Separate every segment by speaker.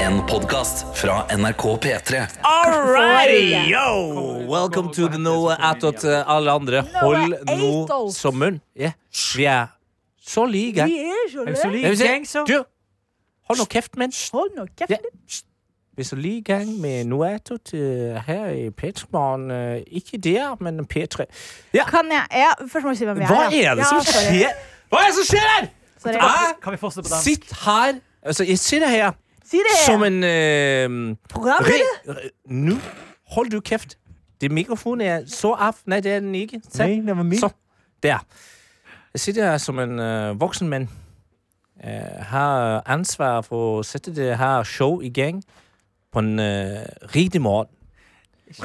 Speaker 1: En podcast fra NRK P3
Speaker 2: Alrighty,
Speaker 3: Florida.
Speaker 2: yo! Welcome to the no attåt eh, alle andre. Hold nå
Speaker 3: attåt.
Speaker 2: sommeren. Yeah. Vi er så like.
Speaker 3: Vi er så
Speaker 4: Er vi så
Speaker 3: lei.
Speaker 4: like?
Speaker 2: Jeg vil si,
Speaker 4: gang, så.
Speaker 2: Du, hold nå kjeft, men.
Speaker 3: Hold nå kjeft.
Speaker 2: Ja. Vi er så lige i gang med noe attåt eh, her i P3morgen. Eh, Ikke der, men P3. Ja,
Speaker 3: Kan jeg ja, Først må vi si hvem vi er.
Speaker 2: hva
Speaker 3: ja.
Speaker 2: er det som
Speaker 3: Ja, sorry.
Speaker 2: skjer? Hva er det som skjer her?
Speaker 3: Sorry.
Speaker 2: Ah,
Speaker 4: Kan vi fortsette på den?
Speaker 2: sitt her. Altså, jeg sitter her
Speaker 3: Si det!
Speaker 2: som en eh,
Speaker 3: programleder.
Speaker 2: Re- re- Nå hold du kjeft. Det mikrofonen er så av. Nei, det er den ikke. Se.
Speaker 4: Nei, den var min.
Speaker 2: Så. Der. Jeg sitter her som en øh, voksen mann. Øh, har ansvar for å sette det her show i gang på en øh, riktig måte.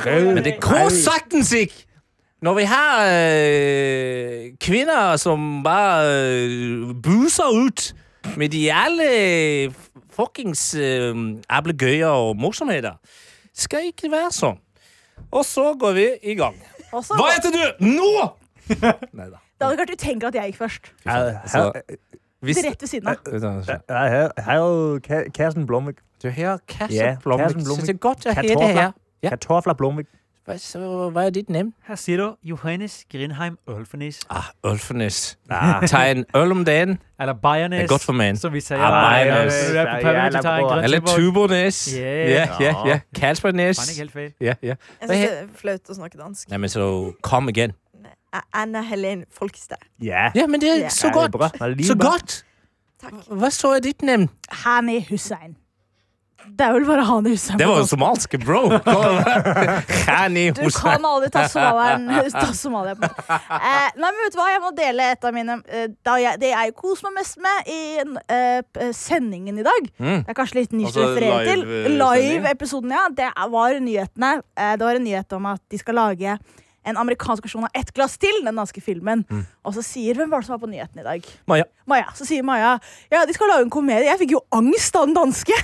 Speaker 2: Men det går saktens ikke! Når vi har øh, kvinner som bare øh, buser ut med de alle fuckings øh, ablegøyer og morsomheter, skal ikke det være sånn. Og så går vi i gang.
Speaker 3: Også,
Speaker 2: Hva heter du? Nå! Nei da.
Speaker 3: det hadde vært utenkelig at jeg gikk først.
Speaker 2: hvis,
Speaker 3: Det er rett ved siden av.
Speaker 4: Nei, her, her er jo Ka- Karsten Blomvik.
Speaker 2: du hører Kassen
Speaker 4: Ja,
Speaker 2: Blomvik.
Speaker 4: Kassen Blomvik.
Speaker 2: Så det er godt å høre det
Speaker 4: Kartofler.
Speaker 2: her. Ja.
Speaker 4: Kartofler Blomvik.
Speaker 2: Hva, så, hva er ditt navn?
Speaker 4: Her sier du Johannes Grindheim Ølfenis.
Speaker 2: Ah, Ulfenes. Ta Ah. en øl om dagen.
Speaker 4: Eller Bajernes,
Speaker 2: Det er godt for meg.
Speaker 4: som vi sier.
Speaker 2: Ah, Bajernes.
Speaker 4: Du er på Pøbelen, du tar en grønn
Speaker 2: Eller
Speaker 4: Tuborg.
Speaker 2: Tubornes.
Speaker 4: Ja.
Speaker 2: Ja, ja, ja. Karlsbergnes.
Speaker 4: Faen, jeg er helt feil.
Speaker 2: Ja, ja.
Speaker 5: Jeg synes det er flaut å snakke dansk.
Speaker 2: Nei, men så kom igjen.
Speaker 5: Jeg er Anna Helene Folkestad.
Speaker 4: Ja.
Speaker 2: Ja, men det er
Speaker 5: Ja.
Speaker 2: så
Speaker 4: Ja, det er
Speaker 2: godt.
Speaker 4: bra. Det er
Speaker 2: Så
Speaker 4: limet.
Speaker 2: godt.
Speaker 5: Takk.
Speaker 2: Hva så er ditt navn?
Speaker 3: Hani Hussein. Det er vel bare Hani Hussein.
Speaker 2: Det var jo somalisk, bro. Khani
Speaker 3: Du
Speaker 2: Hussein.
Speaker 3: kan aldri ta Somalia, ta Somalia på eh, Nei, men vet du hva? Jeg må dele et av mine eh, da jeg, Det jeg koser meg mest med i eh, p- sendingen i dag.
Speaker 2: Mm.
Speaker 3: Det er kanskje litt nisje
Speaker 2: Altså
Speaker 3: å referere til.
Speaker 2: live-sendingen?
Speaker 3: Live-episoden, ja. Det er- var nyhetene. Eh, det var en nyhet om at de skal lage en amerikansk versjon av Ett glass til, den danske filmen.
Speaker 2: Mm.
Speaker 3: Og så sier Hvem var det som var på nyhetene i dag?
Speaker 2: Maja.
Speaker 3: Maja. Så sier Maja ja, de skal lage en komedie. Jeg fikk jo angst av den danske.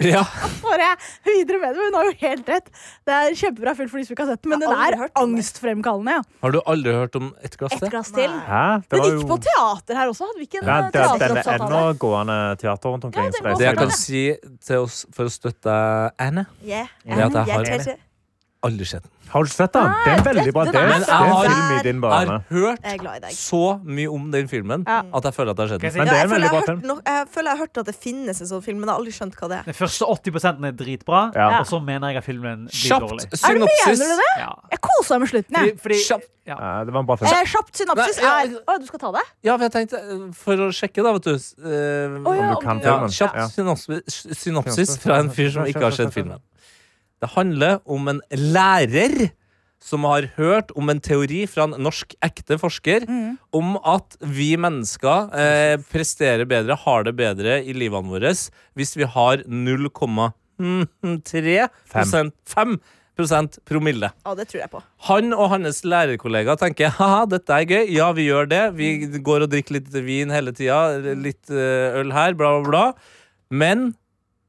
Speaker 2: Ja.
Speaker 3: Bare videre med det, men Hun har jo helt rett. Det er en kjempebra film for de som ikke har sett den, men
Speaker 5: Jeg har
Speaker 3: den
Speaker 5: aldri
Speaker 3: er
Speaker 5: hørt om det.
Speaker 3: angstfremkallende. Ja.
Speaker 2: Har du aldri hørt om et glass
Speaker 3: Et
Speaker 2: til?
Speaker 3: glass til.
Speaker 5: Nei.
Speaker 4: Ja, det
Speaker 3: Den
Speaker 4: var
Speaker 3: gikk
Speaker 4: jo-
Speaker 3: på teater her også. Hadde vi ikke en
Speaker 4: Ja,
Speaker 3: ja,
Speaker 4: det- den er
Speaker 3: teateroppsavtale?
Speaker 4: ennå gående teater rundt omkring.
Speaker 3: Ja, den
Speaker 4: så jeg
Speaker 3: går
Speaker 2: Det jeg
Speaker 4: sier
Speaker 2: kan
Speaker 4: det.
Speaker 2: si til oss for å støtte Anne
Speaker 5: Ja.
Speaker 2: Det er at jeg har-
Speaker 5: tør ikke.
Speaker 2: Aldri sett den.
Speaker 4: Har du sett den? Det er veldig bra.
Speaker 3: den
Speaker 4: Det er
Speaker 3: er
Speaker 4: det er en
Speaker 2: så
Speaker 4: film i din
Speaker 2: Jeg
Speaker 4: bane.
Speaker 2: har hørt
Speaker 5: Jeg er glad i deg.
Speaker 2: så mye om den filmen
Speaker 3: Ja.
Speaker 2: at jeg føler at jeg har sett den.
Speaker 4: Men det
Speaker 5: Ja,
Speaker 4: er
Speaker 5: jeg,
Speaker 4: en
Speaker 5: føler
Speaker 4: veldig
Speaker 5: jeg,
Speaker 4: bra
Speaker 5: har hørt
Speaker 4: film.
Speaker 5: no jeg føler jeg har hørt at det finnes en sånn film, men jeg har aldri skjønt hva det er.
Speaker 4: Den første 80 er dritbra,
Speaker 3: Ja.
Speaker 4: og så mener jeg at filmen blir dårlig.
Speaker 2: Kjapt
Speaker 3: Er det,
Speaker 2: synopsis.
Speaker 3: mener du det?
Speaker 4: Ja.
Speaker 3: Jeg kosa meg med slutten, jeg.
Speaker 4: Fordi,
Speaker 2: Kjapt.
Speaker 4: ja. Ja, det var en bra film.
Speaker 3: Eh, kjapt synopsis
Speaker 2: Nei, ja,
Speaker 3: er Å, du skal ta det?
Speaker 2: Ja, for jeg tenkte eh, For å sjekke, da, vet du. s- eh,
Speaker 3: Å, ja,
Speaker 4: Om
Speaker 3: om
Speaker 4: du kan
Speaker 3: du-
Speaker 2: ja,
Speaker 4: filmen.
Speaker 2: kjapt synopsis, synopsis fra en fyr som ikke har sett filmen. Det handler om en lærer som har hørt om en teori fra en norsk ekte forsker om at vi mennesker eh, presterer bedre, har det bedre i livene våre hvis vi har hmm, 0,3 5 promille.
Speaker 5: Ja, det tror jeg på.
Speaker 2: Han og hans lærerkollega tenker haha, dette er gøy, ja vi gjør det. Vi går og drikker litt vin hele tida, litt eh, øl her, bla, bla, bla. Men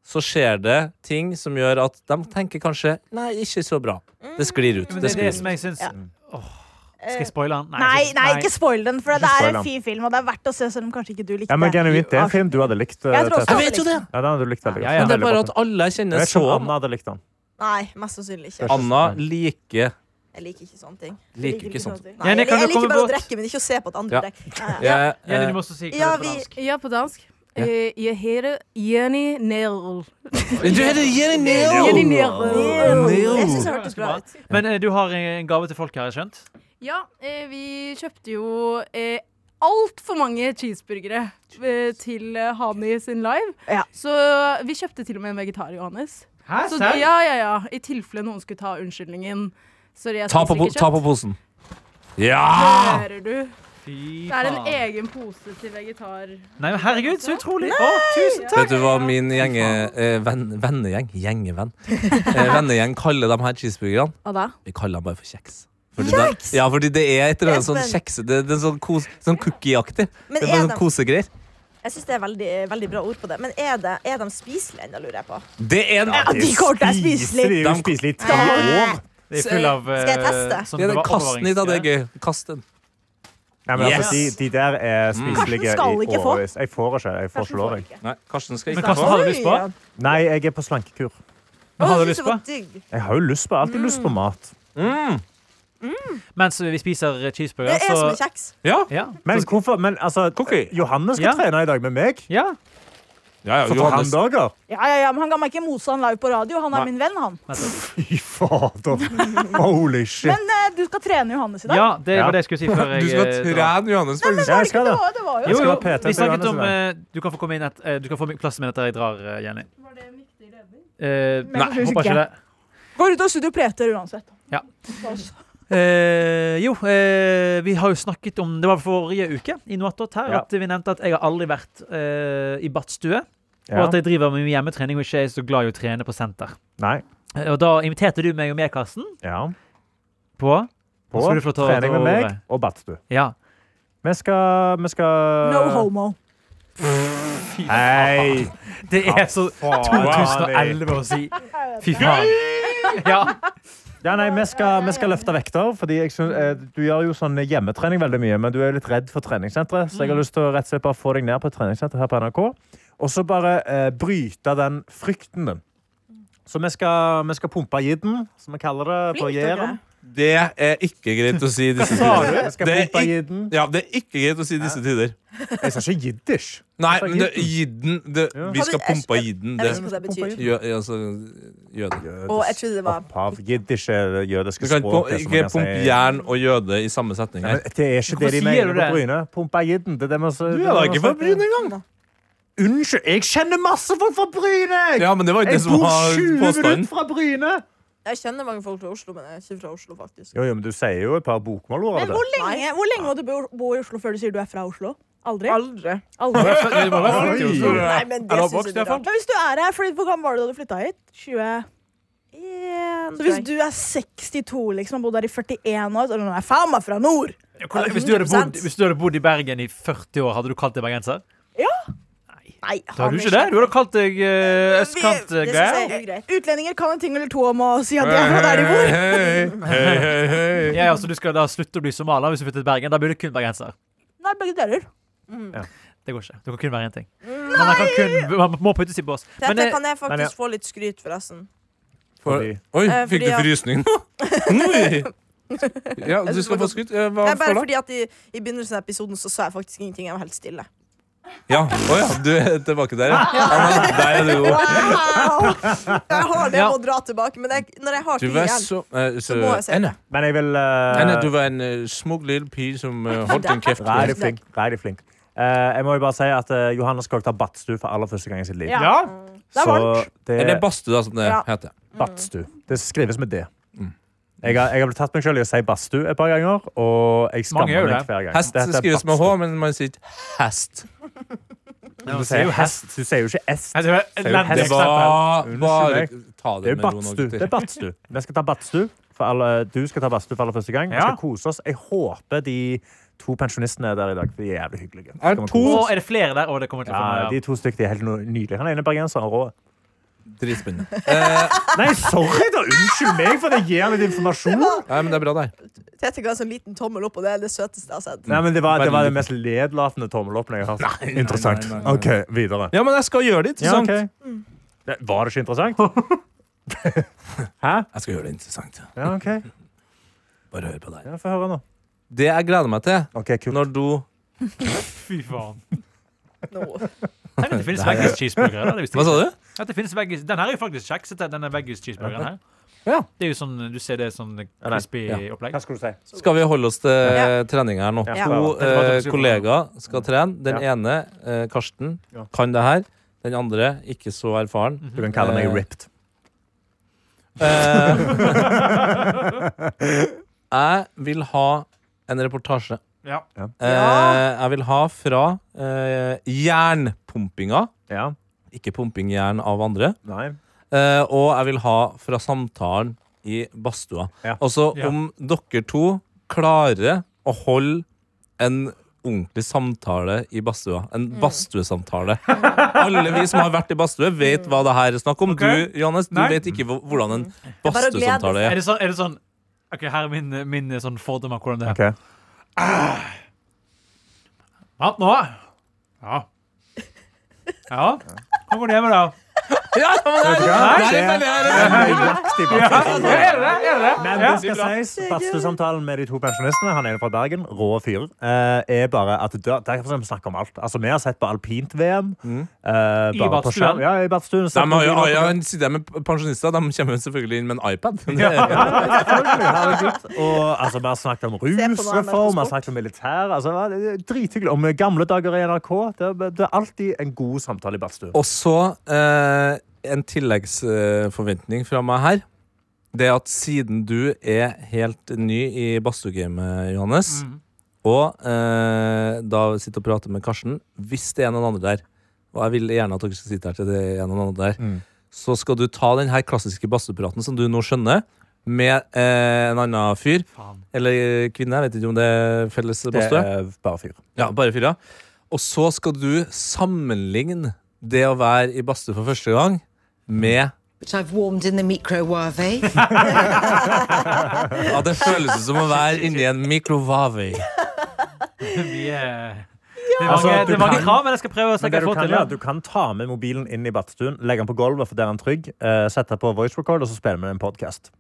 Speaker 2: så skjer det ting som gjør at de tenker kanskje nei, ikke så bra. Det sklir ut. Det
Speaker 4: Men det er det
Speaker 2: sklir ut.
Speaker 4: som jeg syns
Speaker 5: Ja.
Speaker 4: Åh, Skal jeg spoile den?
Speaker 3: Eh, Nei,
Speaker 4: jeg
Speaker 3: nei,
Speaker 4: skal-
Speaker 3: ikke spoil den, for
Speaker 4: Ikke
Speaker 3: det er
Speaker 4: spoil den.
Speaker 3: en fin film, og det er verdt å se, selv om kanskje ikke du likte
Speaker 4: Ja, men genuint, det er en film du hadde likt. eh,
Speaker 3: Jeg tror også-
Speaker 4: Tete.
Speaker 2: Jeg vet jo det,
Speaker 4: Ja, den hadde du likt veldig godt. Ja, ja.
Speaker 2: men det er
Speaker 4: Veldig
Speaker 2: bare
Speaker 4: bra
Speaker 2: at
Speaker 4: film.
Speaker 2: alle jeg
Speaker 4: Jeg
Speaker 2: kjenner
Speaker 4: vet ikke om
Speaker 2: så
Speaker 4: Anna hadde likt den.
Speaker 5: Nei, mest sannsynlig ikke.
Speaker 2: Anna eh, liker
Speaker 5: Jeg liker ikke sånne ting.
Speaker 2: Liker ikke sånt.
Speaker 5: Nei,
Speaker 4: Jenny,
Speaker 5: jeg,
Speaker 4: kan
Speaker 5: jeg
Speaker 4: du
Speaker 5: liker
Speaker 4: komme
Speaker 5: bare å
Speaker 4: bort?
Speaker 5: drikke, men ikke å se på at
Speaker 2: Ja.
Speaker 5: andre drikker. Ja. Ja.
Speaker 2: Jeg,
Speaker 4: Jenny,
Speaker 2: eh,
Speaker 4: du må også si hva det
Speaker 5: Ja,
Speaker 4: er på
Speaker 5: vi-
Speaker 4: dansk.
Speaker 6: Ja, på dansk.
Speaker 2: Ja.
Speaker 6: Eh, Jeg heter Jenny Nerl.
Speaker 2: Du heter Jenny
Speaker 6: Jenny
Speaker 2: Neo!
Speaker 6: Nerl.
Speaker 5: Jeg
Speaker 2: Neo.
Speaker 5: syns det hørtes bra ut.
Speaker 4: Men eh, du har en gave til folk, har jeg skjønt?
Speaker 6: Ja, eh, vi kjøpte jo eh, altfor mange cheeseburgere eh, til eh, Hani sin live.
Speaker 3: Ja.
Speaker 6: Så vi kjøpte til og med en vegetar, Johannes.
Speaker 4: Hæ,
Speaker 6: Så, ja, ja, ja. I tilfelle noen skulle ta unnskyldningen. Sorry, jeg
Speaker 2: Ta på,
Speaker 6: spiser
Speaker 2: po-
Speaker 6: ikke
Speaker 2: ta på Ah!
Speaker 6: kjøtt.
Speaker 2: posen. Ja!
Speaker 6: Hører du? Det er en egen pose til vegetar.
Speaker 4: Nei, men herregud, så utrolig! Å, tusen takk!
Speaker 2: Vet du hva min gjenge, eh, venn, vennegjeng Gjengevenn. Eh, vennegjeng kaller de her cheeseburgerne?
Speaker 3: Hva da?
Speaker 2: Vi kaller den bare for kjeks. Fordi Det, ja, fordi det er et eller annet sånn
Speaker 5: Espen.
Speaker 2: kjekse... Det, det er sånn, kos, sånn cookieaktig.
Speaker 5: Men
Speaker 2: Det er bare
Speaker 5: er
Speaker 2: sånn
Speaker 5: de,
Speaker 2: kosegreier.
Speaker 5: jeg syns det er veldig, veldig bra ord på det. Men er, det, er de spiselige ennå, lurer jeg på?
Speaker 2: Det er en
Speaker 3: Ja, de kommer til å spise litt.
Speaker 4: De spiser litt
Speaker 5: Skal-
Speaker 4: år. Det er full av
Speaker 5: Skal jeg
Speaker 4: eh,
Speaker 5: teste?
Speaker 4: sånn
Speaker 2: Ja,
Speaker 4: det
Speaker 2: den
Speaker 4: var
Speaker 2: Kast den hit, da. Det
Speaker 4: overgangsgreier.
Speaker 2: er gøy. Kast den.
Speaker 7: Nei, men altså,
Speaker 2: Yes!
Speaker 7: de, de der
Speaker 4: Mm.
Speaker 7: er spiselige
Speaker 5: Karsten skal
Speaker 7: i
Speaker 5: ikke få.
Speaker 7: årevis. Jeg får ikke. Jeg får ikke lov. Jeg.
Speaker 2: Nei, Karsten skal
Speaker 4: Men
Speaker 2: ikke
Speaker 4: Karsten
Speaker 2: få.
Speaker 4: hadde lyst på.
Speaker 7: Nei, jeg er på slankekur.
Speaker 4: Hva hadde du lyst på?
Speaker 7: Jeg har jo lyst på, jeg har alltid lyst på mat.
Speaker 4: Mens vi spiser cheeseburger,
Speaker 5: Det er som en
Speaker 4: så
Speaker 5: kjeks.
Speaker 2: Ja,
Speaker 4: ja.
Speaker 7: Men hvorfor Men altså,
Speaker 2: Cookie.
Speaker 7: Johanne
Speaker 4: Ja.
Speaker 7: skal trene i dag med meg.
Speaker 4: ja.
Speaker 2: ja, ja
Speaker 7: For å få
Speaker 2: Johannes.
Speaker 7: hamburger.
Speaker 3: Ja, ja, ja, men Han ga meg ikke motstand live på radio. Han er
Speaker 2: Nei.
Speaker 3: min venn, han.
Speaker 7: Fy fader. Holy shit.
Speaker 3: Men eh, du skal trene Johannes i dag.
Speaker 4: ja, det
Speaker 7: Ja.
Speaker 4: var det jeg skulle si før jeg
Speaker 2: Du skal
Speaker 4: eh, drar.
Speaker 2: trene Johannes, faktisk.
Speaker 7: Ja, jeg skal
Speaker 3: Det
Speaker 7: det.
Speaker 3: var, det var jo
Speaker 4: Jo,
Speaker 7: skal
Speaker 4: jo,
Speaker 7: være PT
Speaker 4: vi
Speaker 7: til
Speaker 4: snakket
Speaker 7: Johannes
Speaker 4: om
Speaker 7: i
Speaker 4: eh, Du kan få komme inn et, eh, Du kan få plassen min etter jeg drar, eh, Jenny.
Speaker 6: Var det en viktig redning?
Speaker 4: Eh,
Speaker 3: Men
Speaker 4: Nei,
Speaker 3: jeg tror ikke.
Speaker 4: håper ikke det.
Speaker 3: Går ut av studio og preter uansett.
Speaker 4: Ja.
Speaker 3: Så-
Speaker 4: Eh, jo, eh, vi har jo snakket om Det var forrige uke i Noatot her
Speaker 7: Ja.
Speaker 4: at vi nevnte at jeg har aldri vært eh, i badstue. Og
Speaker 7: Ja.
Speaker 4: at jeg driver med hjemmetrening og ikke er så glad i å trene på senter.
Speaker 7: Nei.
Speaker 4: Eh, Og da inviterte du meg og meg, Karsten,
Speaker 7: Ja.
Speaker 4: på
Speaker 7: På
Speaker 4: Skal du få ta-
Speaker 7: trening
Speaker 4: ta
Speaker 7: med meg
Speaker 4: ordet?
Speaker 7: og badstue.
Speaker 4: Ja.
Speaker 7: Vi skal, vi skal
Speaker 3: No homo.
Speaker 7: Hei!
Speaker 4: Det er så
Speaker 7: Faen.
Speaker 4: 2011 å si. Fy faen. Ja.
Speaker 7: Ja, nei, vi skal, vi skal løfte vekter. Fordi jeg synes, eh, du gjør jo sånn hjemmetrening veldig mye, men du er jo litt redd for treningssenteret. Så jeg har
Speaker 2: Mm.
Speaker 7: lyst til å rett og slett bare få deg ned på et treningssenter her på NRK. Og så bare eh, bryte den frykten din. Så vi skal, vi skal pumpe jidden, som vi kaller det på
Speaker 5: Flink dere.
Speaker 7: Jæren.
Speaker 2: Det er ikke greit å si i disse tider.
Speaker 7: Vi skal
Speaker 2: Det er
Speaker 7: pumpe
Speaker 2: ikk-
Speaker 7: jidden.
Speaker 2: Ja, det er ikke greit å si i disse tider.
Speaker 7: Jeg sa ikke jiddisch.
Speaker 2: Nei,
Speaker 4: Altså,
Speaker 7: Jeg sa
Speaker 2: men det, jidden det,
Speaker 7: Ja.
Speaker 2: Vi skal
Speaker 5: Har du-
Speaker 2: pumpe jidden.
Speaker 5: Jeg
Speaker 2: Det,
Speaker 5: vet ikke hva det betyr.
Speaker 2: jø, altså, jøde.
Speaker 5: Og jeg trodde det var
Speaker 7: Opphav. Jiddisch er det
Speaker 2: Du
Speaker 7: jødiske
Speaker 2: kan ikke pum-
Speaker 7: språket.
Speaker 2: ikke
Speaker 7: som man kan
Speaker 2: pumpe
Speaker 7: si.
Speaker 2: jern og jøde i samme setning
Speaker 7: Nei,
Speaker 2: her.
Speaker 7: men Det er ikke det de
Speaker 4: sier
Speaker 7: mener
Speaker 4: du
Speaker 7: på
Speaker 4: det?
Speaker 7: Bryne. Pumpe jidden. Det er det vi så-
Speaker 2: Du er da ikke fra Bryne engang!
Speaker 7: Unnskyld, jeg kjenner masse folk fra Bryne! jeg!
Speaker 2: Ja, men det var ikke det som var påstanden.
Speaker 7: fra Bryne!
Speaker 5: Jeg kjenner mange folk fra Oslo, men jeg er ikke fra Oslo, faktisk.
Speaker 7: Jo, jo, men Du sier jo et par bokmål over
Speaker 3: Men hvor
Speaker 7: det.
Speaker 3: lenge, hvor lenge må du bo, bo i Oslo før du sier du er fra Oslo? Aldri?
Speaker 5: Aldri.
Speaker 3: Aldri.
Speaker 4: Du må være flink i Oslo.
Speaker 7: Oi.
Speaker 5: Nei, men det
Speaker 2: Er du
Speaker 5: synes
Speaker 2: oppvokst,
Speaker 5: jeg er rart.
Speaker 3: Men hvis du er her, fordi Hvor gammel var du da du flytta hit? 20? Så hvis du er 62 liksom, og bodd her i 41 år, så er du sånn, "Jeg er faen meg fra nord!
Speaker 4: Hvordan- Hvis du, hadde bodd, hvis du hadde bodd i Bergen i 40 år, hadde du kalt deg bergenser?
Speaker 5: Nei,
Speaker 4: Da hadde du ikke det. Du hadde kalt deg uh, østkantgreier.
Speaker 3: Utlendinger kan en ting eller to om å si at de er fra der de bor.
Speaker 4: Ja, ja, så du skal da slutte å bli somalier hvis du flytter til Bergen? Da blir du kun bergenser.
Speaker 3: Nei, begge deler.
Speaker 4: Det går ikke. Det kan kun være én ting. Man, kan kun, man må puttes i bås. Men,
Speaker 5: Dette
Speaker 4: eh,
Speaker 5: kan jeg
Speaker 7: men ja.
Speaker 5: faktisk få litt skryt, forresten.
Speaker 2: For,
Speaker 7: Fordi-
Speaker 2: oi,
Speaker 5: Eh,
Speaker 2: fikk du
Speaker 5: fordi at-
Speaker 2: frysning nå? Oi. Ja, du skal få skutt. Eh, Hva
Speaker 5: Det er bare
Speaker 2: for da?
Speaker 5: fordi at i, i begynnelsen av episoden så sa jeg faktisk ingenting. Jeg var helt stille.
Speaker 2: Ja, å ja, du er tilbake der, ja. ja men, der er du jo.
Speaker 5: Wow! Jeg har det
Speaker 4: Ja.
Speaker 5: med å dra tilbake, men jeg, når jeg har
Speaker 2: Du
Speaker 5: ting
Speaker 2: var
Speaker 5: igjen
Speaker 2: så, eh, så
Speaker 5: må jeg se.
Speaker 2: Anna,
Speaker 7: Men jeg vil eh,
Speaker 2: Anna, du var en uh, smug lille pige som eh, holdt din kjeft.
Speaker 7: Rædig flink. Rædig flink. Eh, jeg må jo bare si at eh, Johannes skal ta badstue for aller første gang i sitt liv.
Speaker 3: Ja.
Speaker 4: ja.
Speaker 3: Det er
Speaker 7: Så
Speaker 3: varmt.
Speaker 7: det
Speaker 2: Eller
Speaker 7: er
Speaker 2: badstue, da, som det
Speaker 3: Ja.
Speaker 2: heter.
Speaker 7: badstue. Det skrives med D. Jeg har, jeg har blitt tatt meg selv i å si badstue et par ganger, og jeg
Speaker 4: Mange gjør
Speaker 7: skammer meg
Speaker 4: det.
Speaker 7: hver gang.
Speaker 2: Hest
Speaker 7: Dette er
Speaker 2: skrives med H,
Speaker 7: badstue.
Speaker 2: men man sier ikke hest.
Speaker 7: Du sier jo hest. Du sier jo ikke est.
Speaker 4: Jeg tror jeg-
Speaker 7: Det er jo
Speaker 4: elendig
Speaker 2: Det
Speaker 7: hest.
Speaker 4: eksempel.
Speaker 2: var
Speaker 7: Unnskyld
Speaker 2: bare
Speaker 7: meg.
Speaker 2: Ta
Speaker 7: Det
Speaker 2: det
Speaker 7: er
Speaker 2: med noen
Speaker 7: badstue. Det er badstue. Vi skal ta badstue. For alle, du skal ta badstue for aller første gang. Vi
Speaker 4: Ja.
Speaker 7: skal kose oss. Jeg håper de to pensjonistene er der i dag. for De er jævlig hyggelige.
Speaker 2: Er
Speaker 7: Skal vi
Speaker 2: to?
Speaker 4: Å,
Speaker 7: kose oss?
Speaker 4: er det flere der? Å, det kommer til å få
Speaker 7: Ja, de to stykker de er helt no- nydelige. Han ene bergenseren rå.
Speaker 2: Dritspennende. Eh,
Speaker 7: Nei, sorry, da! Unnskyld meg for at jeg gir litt informasjon.
Speaker 2: Nei, men det er bra, der.
Speaker 5: Tete ga en sånn liten tommel opp, og det er det søteste jeg har sett.
Speaker 7: Nei, men Det var, det var den mest nedlatende tommeloppen jeg har hørt. Interessant.
Speaker 2: nei, nei, nei.
Speaker 7: OK, videre.
Speaker 2: Ja, men jeg skal gjøre det
Speaker 7: Ja,
Speaker 2: interessant.
Speaker 7: ok. Det, var det ikke interessant? Hæ?
Speaker 2: Jeg skal gjøre det interessant.
Speaker 7: Ja, OK.
Speaker 2: Bare hør på deg.
Speaker 7: Ja, Få høre nå.
Speaker 2: Det jeg gleder meg til
Speaker 7: OK, kult.
Speaker 2: når du
Speaker 4: Fy faen.
Speaker 5: Nå.
Speaker 4: Tenk at det finnes veggis cheeseburgere. da, det visste jeg
Speaker 2: Hva sa
Speaker 4: ikke.
Speaker 2: du?
Speaker 4: At det finnes veggis Den her er jo faktisk kjeksete, denne veggis cheeseburgeren her.
Speaker 2: Ja.
Speaker 4: Det er jo sånn, Du ser det er sånn
Speaker 7: nei.
Speaker 4: crispy
Speaker 2: Ja.
Speaker 4: opplegg.
Speaker 7: Hva skulle du si?
Speaker 2: Skal vi holde oss til
Speaker 5: Ja.
Speaker 2: trening her nå?
Speaker 7: Ja.
Speaker 2: To
Speaker 4: Det var det
Speaker 2: eh,
Speaker 4: vi skulle
Speaker 2: kollegaer skal trene. Den
Speaker 7: Ja.
Speaker 2: ene, eh, Karsten,
Speaker 7: Ja.
Speaker 2: kan det her. Den andre, ikke så erfaren.
Speaker 7: Du kan kalle meg
Speaker 2: Eh,
Speaker 7: ripped.
Speaker 2: Eh, jeg vil ha en reportasje.
Speaker 4: Ja.
Speaker 2: Eh, jeg vil ha fra eh, jernpumpinga.
Speaker 7: Ja.
Speaker 2: Ikke pumping jern av andre.
Speaker 7: Nei.
Speaker 2: Eh, og jeg vil ha fra samtalen i badstua.
Speaker 7: Ja.
Speaker 2: Altså
Speaker 4: Ja.
Speaker 2: om dere to klarer å holde en ordentlig samtale i badstua. En badstuesamtale. Alle vi som har vært i badstue, vet hva det her er snakk om.
Speaker 4: Ok.
Speaker 2: Du Johannes, du
Speaker 4: Nei.
Speaker 2: vet ikke hvo- hvordan en
Speaker 5: er bare å glede
Speaker 2: badstuesamtale
Speaker 4: Er
Speaker 2: er.
Speaker 4: eh, det sånn, er det sånn OK, her er min, min sånn fordom av hvordan det er.
Speaker 7: OK.
Speaker 8: Mat nå? Ja. Ja, hva går det med da?
Speaker 2: Ja, men det er
Speaker 7: Nøyaktig, Bastø.
Speaker 8: Er det det? Er det det?
Speaker 7: Men
Speaker 8: Ja.
Speaker 7: det skal sies, Bastø-samtalen med de to pensjonistene, han ene fra Bergen, rå fyr, eh, er bare at der, der kan vi snakke om alt. Altså, vi har sett på alpint-VM. eh,
Speaker 8: I
Speaker 7: bare på
Speaker 8: Badstuen.
Speaker 7: skjerm. Ja, i badstuen.
Speaker 2: De
Speaker 7: Sett på
Speaker 2: har jo,
Speaker 7: biler.
Speaker 2: ja, Siden de er pensjonister, de kommer jo selvfølgelig inn med en iPad.
Speaker 7: Ja, selvfølgelig, herregud. Og altså, vi har snakket om rusreform, vi har snakket om militær. Altså, det var drithyggelig. Om gamle dager i NRK. Det er, det er alltid en god samtale i badstuen.
Speaker 2: Og så eh, en tilleggsforventning fra meg her. Det er at siden du er helt ny i badstuegamet, Johannes, og eh, da sitter og prater med Karsten Hvis det er noen andre der, og jeg vil gjerne at dere skal sitte her til det er noen andre der,
Speaker 7: Mm.
Speaker 2: så skal du ta den her klassiske badstuepraten som du nå skjønner, med eh, en annen fyr,
Speaker 4: Faen.
Speaker 2: eller kvinne, jeg vet ikke om det er felles
Speaker 7: Det
Speaker 2: badstue.
Speaker 7: er bare fyr.
Speaker 2: Ja, bare fire. Og så skal du sammenligne det å være i badstue for første gang med
Speaker 9: which I've warmed in the microwave.
Speaker 2: Ja, det føles ut som å være inni en mikrovave.
Speaker 4: Vi er det er
Speaker 7: Altså,
Speaker 4: mange,
Speaker 7: du
Speaker 4: det er mange
Speaker 7: kan-
Speaker 4: krav, men jeg skal prøve å
Speaker 7: Men
Speaker 4: snakke
Speaker 7: det du
Speaker 4: få
Speaker 7: kan,
Speaker 4: til.
Speaker 7: gjøre,
Speaker 4: ja.
Speaker 7: du kan ta med mobilen inn i badstuen, legge den på gulvet, for der er den trygg, eh, sette på voice record, og så spiller vi en podcast.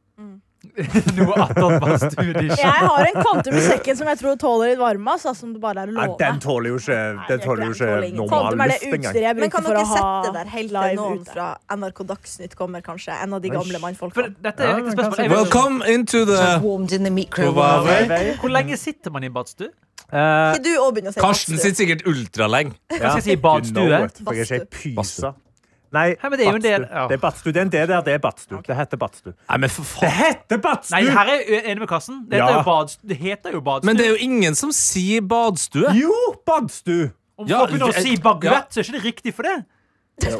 Speaker 4: Noe attåt badstue-dish.
Speaker 3: Jeg har en kvantum i sekken som jeg tror tåler litt varme. Altså, som det bare er å
Speaker 7: Nei,
Speaker 3: love.
Speaker 7: den tåler jo ikke, den tåler jo
Speaker 5: Nei,
Speaker 7: ikke
Speaker 5: det tåler
Speaker 7: normal
Speaker 3: Kvantum er det
Speaker 7: luft engang.
Speaker 3: utstyret jeg
Speaker 5: Men
Speaker 3: bruker
Speaker 5: kan
Speaker 3: for
Speaker 5: dere
Speaker 3: å ha
Speaker 5: sette det der helt til
Speaker 3: live
Speaker 5: noen
Speaker 3: ute.
Speaker 5: fra NRK Dagsnytt kommer, kanskje? En av de gamle
Speaker 4: For
Speaker 5: mannfolkene.
Speaker 4: dette er et riktig spørsmål. Jeg vet,
Speaker 2: Welcome into
Speaker 9: I've
Speaker 2: the
Speaker 9: warmed in the microwave.
Speaker 2: mikrovave.
Speaker 4: hvor lenge sitter man i badstue?
Speaker 5: Ikke du òg begynner å si
Speaker 2: Karsten
Speaker 5: badstue?
Speaker 2: sitter sikkert ultralenge.
Speaker 4: Hva skal jeg si?
Speaker 7: You know
Speaker 4: Badstue? eh?
Speaker 7: it, For jeg er ikke ei pyse. Nei,
Speaker 4: Hæ, men det er jo en del-
Speaker 7: badstue. Det er badstue. Det er en del der. Det er badstue. Det heter badstue.
Speaker 2: Nei, men for
Speaker 7: Det
Speaker 2: faen.
Speaker 7: heter
Speaker 4: Nei,
Speaker 7: badstue!
Speaker 4: her er jeg uenig med Karsten. Det
Speaker 7: Ja.
Speaker 4: heter jo badstue. Det heter jo badstue.
Speaker 2: Men det er jo ingen som sier badstue.
Speaker 7: Jo, badstue!
Speaker 4: Om
Speaker 2: Ja,
Speaker 4: folk begynner å
Speaker 2: det-
Speaker 4: si baguett, så er ikke det riktig for det.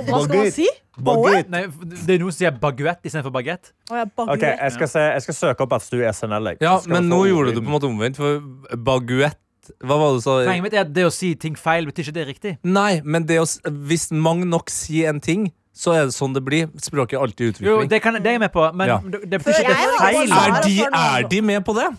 Speaker 3: Hva skal man si?
Speaker 7: Baguette.
Speaker 4: Nei, Det er noen som sier baguett istedenfor baguett.
Speaker 3: Å, jeg bagger.
Speaker 7: Ok, eh, jeg skal, se, jeg skal søke opp badstue i SNL. jeg.
Speaker 2: Ja,
Speaker 7: Skal
Speaker 2: men
Speaker 7: få
Speaker 2: nå
Speaker 7: ordet
Speaker 2: gjorde du
Speaker 7: inn.
Speaker 2: på en måte omvendt, for baguett Hva var det du sa?
Speaker 4: Poenget mitt er at det å si ting feil betyr ikke det er riktig.
Speaker 2: Nei, men det å, s- hvis mange nok sier en ting, så er det sånn det blir. Språket er alltid i
Speaker 4: Jo,
Speaker 2: utvikling.
Speaker 4: det, kan, det er jeg med på, men
Speaker 2: Ja.
Speaker 4: det, det betyr ikke
Speaker 5: jeg
Speaker 4: det er
Speaker 5: var også
Speaker 4: feil.
Speaker 5: sånn.
Speaker 2: Er de, er de med på det?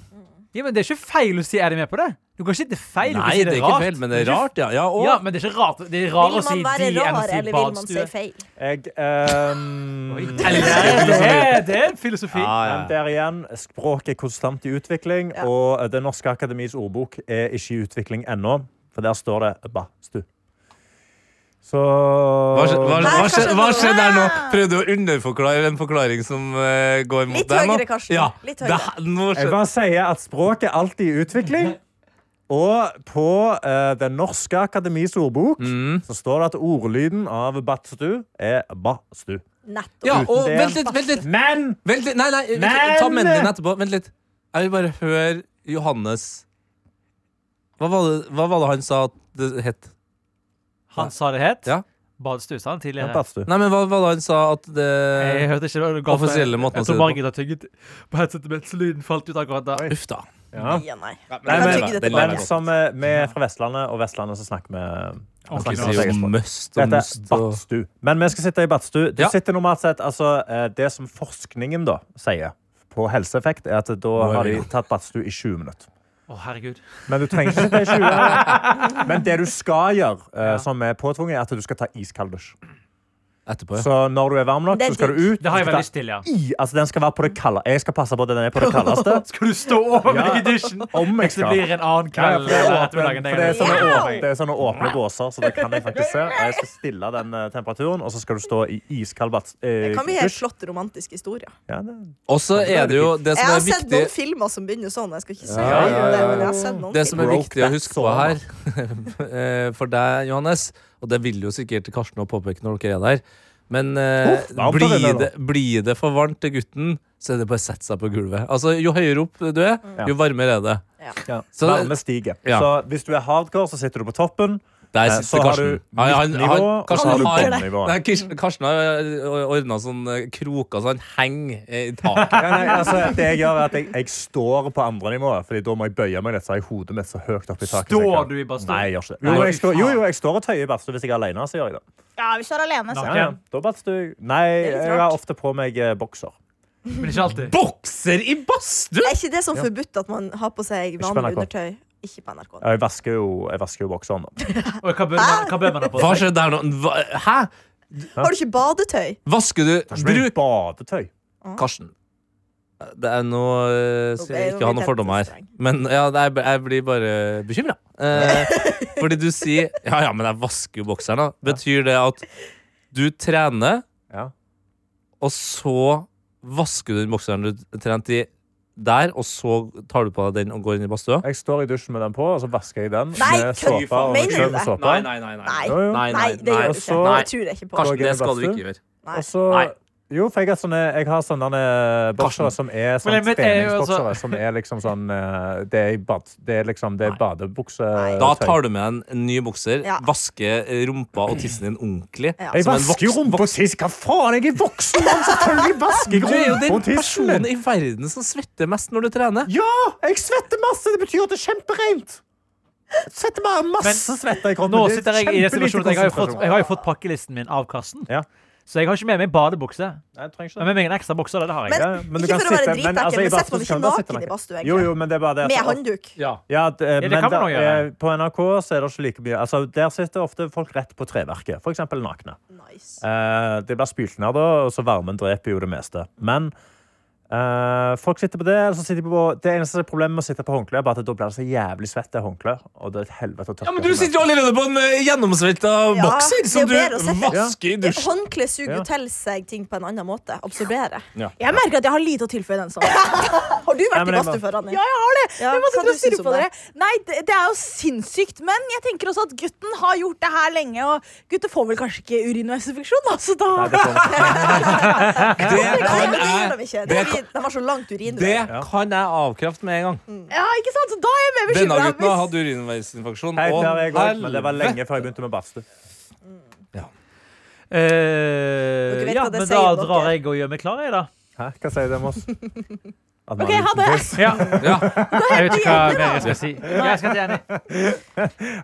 Speaker 4: Ja, men det er ikke feil å si 'er de med på det'? Du kan ikke si det er feil. du kan
Speaker 2: Nei,
Speaker 4: si
Speaker 2: det er ikke feil, men det er rart, ja. ja, og,
Speaker 4: Ja, men det er ikke rart. Det er
Speaker 5: Vil
Speaker 4: rarere å si
Speaker 5: man være
Speaker 4: 'de' enn å
Speaker 5: rar,
Speaker 4: si
Speaker 5: eller vil man si
Speaker 4: 'badstue'.
Speaker 5: feil?
Speaker 7: Jeg ehm,
Speaker 4: Oi, det er- det er- Det er en filosofi.
Speaker 7: Men der igjen, språket er konstant i utvikling,
Speaker 5: Ja.
Speaker 7: og Det norske akademis ordbok er ikke i utvikling ennå, for der står det badstue. Så
Speaker 2: Hva, skje- hva, hva,
Speaker 5: Nei,
Speaker 2: skje-
Speaker 5: kanskje
Speaker 2: hva
Speaker 5: det-
Speaker 2: skjedde der nå? Prøvde å underforklare en forklaring som eh, går mot
Speaker 5: Litt
Speaker 2: deg nå?
Speaker 5: høyere, Karsten.
Speaker 2: Ja,
Speaker 5: Litt
Speaker 2: det
Speaker 5: høyere.
Speaker 2: her- nå
Speaker 7: Jeg
Speaker 2: skjedde
Speaker 7: bare sier at språket er alltid i utvikling. Og på eh, Den norske akademis ordbok
Speaker 2: Mm.
Speaker 7: så står det at ordlyden av badstue er badstue.
Speaker 5: Nettopp.
Speaker 2: ja, og
Speaker 7: Uten det.
Speaker 2: vent litt, vent litt,
Speaker 7: Men
Speaker 2: vent litt. Nei, nei, vent litt. ta mennene dine etterpå. Vent litt. Jeg vil bare høre Johannes Hva var det, hva var det han sa at det het?
Speaker 4: Han sa det het.
Speaker 2: Ja.
Speaker 4: Badstue, sa han
Speaker 7: ja,
Speaker 4: tidligere.
Speaker 7: badstue.
Speaker 2: Nei, men hva var det han sa at det
Speaker 4: Jeg hørte ikke hva du ga for-
Speaker 2: Offisielle måten å
Speaker 4: Jeg
Speaker 2: si det
Speaker 4: tror
Speaker 2: på.
Speaker 4: Margit har tygget på headsetet mitt, så lyden falt ut akkurat da.
Speaker 2: Uff, da.
Speaker 7: Ja.
Speaker 5: Ja, nei.
Speaker 7: Nei,
Speaker 5: Jeg kan
Speaker 7: men,
Speaker 5: tygge dette
Speaker 2: det
Speaker 5: bare.
Speaker 2: lever
Speaker 7: men
Speaker 2: godt.
Speaker 7: som eh, vi er fra Vestlandet, og Vestlandet så snakker vi eh,
Speaker 4: Ok,
Speaker 2: Han
Speaker 7: snakker
Speaker 4: nå
Speaker 7: sitt
Speaker 2: sier
Speaker 7: eget
Speaker 2: jo
Speaker 7: språk.
Speaker 2: must og
Speaker 7: Det heter
Speaker 2: must og
Speaker 7: badstue. Men vi skal sitte i badstue. Du
Speaker 2: Ja.
Speaker 7: sitter normalt sett, altså, eh, det som forskningen da sier på helseeffekt, er at da
Speaker 2: er
Speaker 7: har
Speaker 2: vi
Speaker 7: de
Speaker 2: igjen.
Speaker 7: tatt badstue i 20 minutter.
Speaker 4: Å, herregud.
Speaker 7: Men du trenger ikke sitte i 20 minutter. Men det du skal gjøre, eh, som er påtvunget, er at du skal ta iskald dusj.
Speaker 2: etterpå. Ja.
Speaker 7: Så når du er varm nok,
Speaker 5: Det er
Speaker 7: så skal du
Speaker 5: digg.
Speaker 7: ut.
Speaker 4: Det har jeg
Speaker 7: så skal
Speaker 4: veldig lyst til, ja.
Speaker 7: du ta I, altså den skal være på det kalde. Jeg skal passe på at den er på det kaldeste.
Speaker 4: Skal du stå over
Speaker 7: Ja.
Speaker 4: meg i dusjen?
Speaker 7: Om jeg
Speaker 4: Det
Speaker 7: skal.
Speaker 4: blir en annen kveld.
Speaker 7: Ja,
Speaker 4: eller
Speaker 7: ja, for
Speaker 4: ettermiddagen,
Speaker 7: det er åpen-
Speaker 4: det
Speaker 7: for det er sånn-
Speaker 4: er
Speaker 7: sånne,
Speaker 4: greit.
Speaker 7: åpne, det er sånne åpne båser, så det kan jeg faktisk se. Og jeg skal stille den eh, temperaturen, og så skal du stå i iskald bats- eh,
Speaker 5: Det kan bli helt
Speaker 7: dusj.
Speaker 5: slått romantiske historier.
Speaker 7: Ja, det,
Speaker 2: Og så er det jo Altså, det
Speaker 5: Jeg
Speaker 2: som
Speaker 5: har
Speaker 2: er
Speaker 5: sett noen
Speaker 2: viktig
Speaker 5: filmer som begynner sånn. Jeg skal ikke si
Speaker 7: Ja, ja, ja,
Speaker 5: det,
Speaker 7: ja.
Speaker 5: men jeg har sett noen
Speaker 2: Det som er
Speaker 7: Broke
Speaker 5: filmer.
Speaker 2: viktig å
Speaker 7: back
Speaker 2: huske på her, eh, for deg, Johannes, og det vil jo sikkert Karsten og påpeke når dere er der, men eh,
Speaker 7: Uff, varmt er det
Speaker 2: blir,
Speaker 7: nå.
Speaker 2: det, blir det for varmt til gutten, så er det bare å sette seg på gulvet. Altså, Jo høyere opp du er, jo varmere er det.
Speaker 7: ja.
Speaker 2: Så-
Speaker 7: Varme stiger.
Speaker 2: Ja.
Speaker 7: Så hvis du er hardcore, så sitter du på toppen.
Speaker 2: Der
Speaker 7: Eh, så
Speaker 2: sitter
Speaker 7: har du
Speaker 2: Karsten. Ja, ja, han-
Speaker 7: midtnivå,
Speaker 2: han-
Speaker 7: og så
Speaker 2: Karsten
Speaker 7: har du
Speaker 2: har-
Speaker 7: bunnivå.
Speaker 2: Nei, Kirsten- Karsten har eh, ordna sånne sånn, eh, kroker så han henger eh, i
Speaker 7: Ja,
Speaker 2: taket.
Speaker 7: nei, altså, det jeg gjør, er at jeg, jeg står på andre nivået, Fordi da må jeg bøye meg litt, så har jeg hodet mitt så høyt opp i taket. som jeg
Speaker 4: Står
Speaker 7: kan.
Speaker 4: du i badstue?
Speaker 7: Nei, jeg gjør ikke det. Jo, jeg står, jo, jo, jeg står og tøyer i badstue hvis jeg er alene. Så gjør jeg det.
Speaker 3: Ja, hvis du er alene, så.
Speaker 7: Ja, ja. Da badstue jeg. Nei,
Speaker 5: er litt
Speaker 7: jeg har ofte på meg eh, bokser.
Speaker 4: Men ikke alltid.
Speaker 2: Bokser i badstue!
Speaker 5: Er ikke det sånn forbudt at man har på seg
Speaker 7: på NRK.
Speaker 5: vanlig undertøy Ikke på NRK.
Speaker 7: Ja, Jeg vasker jo, jeg vasker jo bokseren. da.
Speaker 4: Oi, hva, bør man, hva bør man ha på
Speaker 2: Hva skjedde
Speaker 4: seg?
Speaker 2: der nå? Hva, hæ?
Speaker 5: Har du ikke badetøy?
Speaker 2: Vasker du
Speaker 7: Kanskje det er
Speaker 2: Bruk
Speaker 7: badetøy.
Speaker 2: Karsten. Det er nå eh, skal jeg ikke ha noen fordom her. Men ja, det er, jeg blir bare bekymra. Eh, fordi du sier Ja, ja, men jeg vasker jo bokseren, da. Betyr det at du trener,
Speaker 7: Ja.
Speaker 2: og så vasker du den bokseren du trente i der, og så tar du på deg den og går inn i badstua?
Speaker 7: Jeg står i dusjen med den på, og så vasker jeg den
Speaker 5: Nei,
Speaker 7: med
Speaker 5: kødd-
Speaker 7: såpe. og
Speaker 5: mener du
Speaker 7: skjønn
Speaker 5: det?
Speaker 7: såpe.
Speaker 2: Nei, nei, nei. nei.
Speaker 5: Nei.
Speaker 7: Jo, jo.
Speaker 2: Nei,
Speaker 5: Nei, det gjør du
Speaker 7: og
Speaker 5: ikke.
Speaker 7: så-
Speaker 5: Nei, det tror jeg ikke på.
Speaker 7: Kanskje-
Speaker 2: Karsten, det skal du ikke gjøre.
Speaker 5: Nei.
Speaker 7: Og så
Speaker 2: Nei.
Speaker 7: Jo, for jeg, har sånne, jeg har sånne eh, boksere
Speaker 2: Karsten.
Speaker 7: som er sånn
Speaker 4: Men jeg vet- jeg er jo altså-
Speaker 7: treningsboksere. Som er liksom sånn eh, Det er, i bad, det er liksom det er
Speaker 2: Nei.
Speaker 7: badebukse...
Speaker 2: Da tar du med en ny bukser,
Speaker 5: Ja.
Speaker 2: vasker rumpa og tissen din ordentlig.
Speaker 5: Ja. altså,
Speaker 7: Jeg
Speaker 2: som en
Speaker 7: vasker jo
Speaker 2: voksen-
Speaker 7: rumpa og tiss! Hva faen? Jeg er voksen mann! Selvfølgelig vasker
Speaker 2: Du er
Speaker 7: jeg
Speaker 2: jo
Speaker 7: rumpa
Speaker 2: den
Speaker 7: og tissen min!
Speaker 2: personen i verden som svetter mest når du trener.
Speaker 7: Ja! Jeg svetter masse! Det betyr at det er kjempereint! Jeg Svetter bare masse
Speaker 4: Men
Speaker 7: svette i kroppen.
Speaker 4: Nå
Speaker 7: Det er
Speaker 4: sitter jeg i den
Speaker 7: kjempelite
Speaker 4: situasjonen at jeg har, jo fått,
Speaker 7: konsentrasjon.
Speaker 4: jeg har jo fått pakkelisten min av kassen.
Speaker 7: Ja.
Speaker 4: Så jeg har ikke med meg badebukse.
Speaker 7: Nei, jeg trenger ikke
Speaker 4: Men
Speaker 7: det.
Speaker 4: med meg en ekstra bukse. da, Det har jeg.
Speaker 5: Men,
Speaker 7: Ja, men du
Speaker 5: ikke
Speaker 7: kan
Speaker 5: for å være
Speaker 7: sitte- men, altså, i
Speaker 5: dritnekkel, men setter man
Speaker 7: badstue
Speaker 5: ikke
Speaker 7: kan du sitte
Speaker 5: naken
Speaker 7: naken.
Speaker 5: i badstue?
Speaker 7: Jo, jo, men det er bare det. at-
Speaker 5: Med handduk?
Speaker 7: Ja, d- men
Speaker 4: kan man
Speaker 7: da-
Speaker 4: også gjøre.
Speaker 7: eh, På NRK så er det ikke like mye. Altså, der sitter ofte folk rett på treverket, f.eks. nakne.
Speaker 5: Nice.
Speaker 7: Eh, det blir spylt ned, da, og så varmen dreper jo det meste. Men eh, folk sitter på det. Eller så sitter de på, det eneste problemet med å sitte på håndkle, er bare at da blir det så jævlig svett, det håndkleet. Og det er et helvete å tørke.
Speaker 2: Ja, men Du sitter jo allerede på en eh, gjennomsvelta
Speaker 5: Ja,
Speaker 2: bokser som du
Speaker 5: det er bedre å sette.
Speaker 2: vasker i
Speaker 5: Ja,
Speaker 2: dusjen.
Speaker 5: Håndkle suger
Speaker 7: Ja.
Speaker 5: jo til seg ting på en annen måte. Absorberer.
Speaker 3: Jeg merker at jeg har lite å tilføye den sånn.
Speaker 5: Har du
Speaker 7: Nei,
Speaker 5: vært
Speaker 7: men
Speaker 5: i
Speaker 7: jeg
Speaker 5: badstue før, Anja?
Speaker 3: Ja, jeg har det!
Speaker 5: Ja,
Speaker 3: Jeg må
Speaker 5: hva
Speaker 3: sitte
Speaker 5: du
Speaker 3: og stirre
Speaker 5: synes
Speaker 3: på
Speaker 5: om
Speaker 3: dere. Nei, det, det er jo sinnssykt. Men jeg tenker også at gutten har gjort det her lenge, og gutter får vel kanskje ikke urinveisinfeksjon, da, så da
Speaker 7: Nei, det får-
Speaker 2: Det kan
Speaker 5: Nei, men det gjør
Speaker 2: jeg,
Speaker 5: de ikke.
Speaker 2: det
Speaker 5: De, de har så langt urinvei.
Speaker 2: det kan jeg avkrefte med en gang.
Speaker 3: Ja, ikke sant? Så da er jeg
Speaker 2: Denne
Speaker 3: mer bekymra.
Speaker 2: gutten har hatt urinveisinfeksjon.
Speaker 7: Hei,
Speaker 2: og
Speaker 7: der er jeg også, men det var
Speaker 2: helvete.
Speaker 7: lenge før jeg begynte med badstue.
Speaker 4: Eh,
Speaker 5: Dere vet
Speaker 4: ja,
Speaker 5: hva det
Speaker 4: men da
Speaker 5: sier dere.
Speaker 4: drar jeg og gjør meg klar, jeg, da.
Speaker 7: Hæ? Hva sier det om oss? At man-
Speaker 3: Ok, ha det.
Speaker 4: Ja,
Speaker 2: Ja.
Speaker 4: jeg vet ikke hva mer jeg skal si. Jeg skal til Jenny.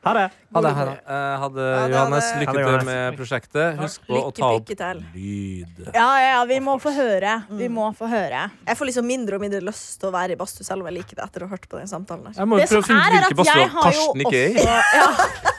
Speaker 7: Ha det.
Speaker 2: Ha det, ha det. Eh, ha det,
Speaker 5: Ha det, ha
Speaker 2: Johannes.
Speaker 5: det.
Speaker 7: Ha
Speaker 2: Lykke
Speaker 7: det,
Speaker 2: til
Speaker 7: Johannes.
Speaker 2: med prosjektet. Husk på å ta
Speaker 5: Lykke
Speaker 2: opp
Speaker 5: pikke til.
Speaker 2: lyd.
Speaker 3: Ja, ja, ja, vi må få høre.
Speaker 5: Mm.
Speaker 3: Vi må få høre.
Speaker 5: Jeg får liksom mindre og mindre lyst til å være i badstue, selv om jeg liker det etter å ha hørt på den samtalen her.
Speaker 2: Jeg må
Speaker 3: Det
Speaker 2: prøve å
Speaker 3: som
Speaker 2: finne
Speaker 3: er,
Speaker 2: ut
Speaker 3: er at
Speaker 2: hvilke
Speaker 3: jeg
Speaker 2: badstue
Speaker 3: har jo
Speaker 2: Karsten ikke er i.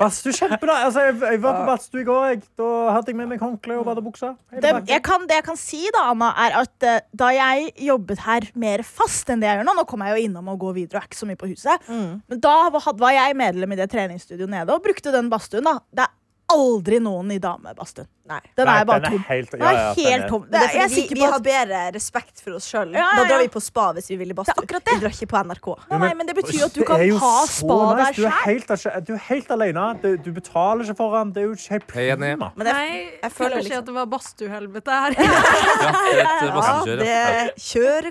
Speaker 7: Badstue, kjempe, da. Altså, jeg, jeg var på badstue i går. Jeg, da hadde jeg med meg håndkle og badebukse. Hele
Speaker 3: Det
Speaker 7: veien.
Speaker 3: jeg, kan, det jeg kan si, da, Anna, er at eh, da jeg jobbet her mer fast enn det jeg gjør nå Nå kommer jeg jo innom og går videre og er ikke så mye på huset.
Speaker 5: Mm.
Speaker 3: Men da var, had- var jeg medlem i det treningsstudioet nede og brukte den badstuen. da. Det er aldri noen i damebadstuen.
Speaker 5: Nei.
Speaker 3: Den
Speaker 7: Nei,
Speaker 3: er bare
Speaker 7: den er
Speaker 3: tom.
Speaker 7: helt-
Speaker 3: Den er
Speaker 7: ja, ja, den
Speaker 3: helt
Speaker 7: er-
Speaker 3: tom.
Speaker 5: Men det
Speaker 3: Det
Speaker 5: er
Speaker 3: er, jeg er
Speaker 5: fordi vi,
Speaker 3: sikker
Speaker 5: vi
Speaker 3: på
Speaker 5: har
Speaker 3: at
Speaker 5: bedre respekt for oss sjøl.
Speaker 3: Ja, ja,
Speaker 5: Da drar
Speaker 3: ja.
Speaker 5: vi på spa hvis vi vil i
Speaker 3: Det er
Speaker 5: badstue.
Speaker 3: akkurat
Speaker 5: Vi
Speaker 3: det.
Speaker 5: drar ikke på NRK.
Speaker 3: Nei, nei, men det betyr jo at du
Speaker 7: Det
Speaker 3: kan
Speaker 7: er jo
Speaker 3: ha
Speaker 7: så
Speaker 3: spa
Speaker 7: nice.
Speaker 3: der
Speaker 7: Du er
Speaker 3: sjøl.
Speaker 7: helt, alene. du er helt alene. Du, du betaler ikke for den. Det er jo ikke helt
Speaker 2: Jeg er enig.
Speaker 7: prima.
Speaker 5: Men det,
Speaker 6: Nei,
Speaker 5: jeg føler
Speaker 6: jeg føler
Speaker 5: liksom-
Speaker 6: ikke at det var badstuehelvete her.
Speaker 2: Ja, det er et
Speaker 5: ja,
Speaker 2: badstuekjør,
Speaker 5: det
Speaker 2: ja.
Speaker 5: kjører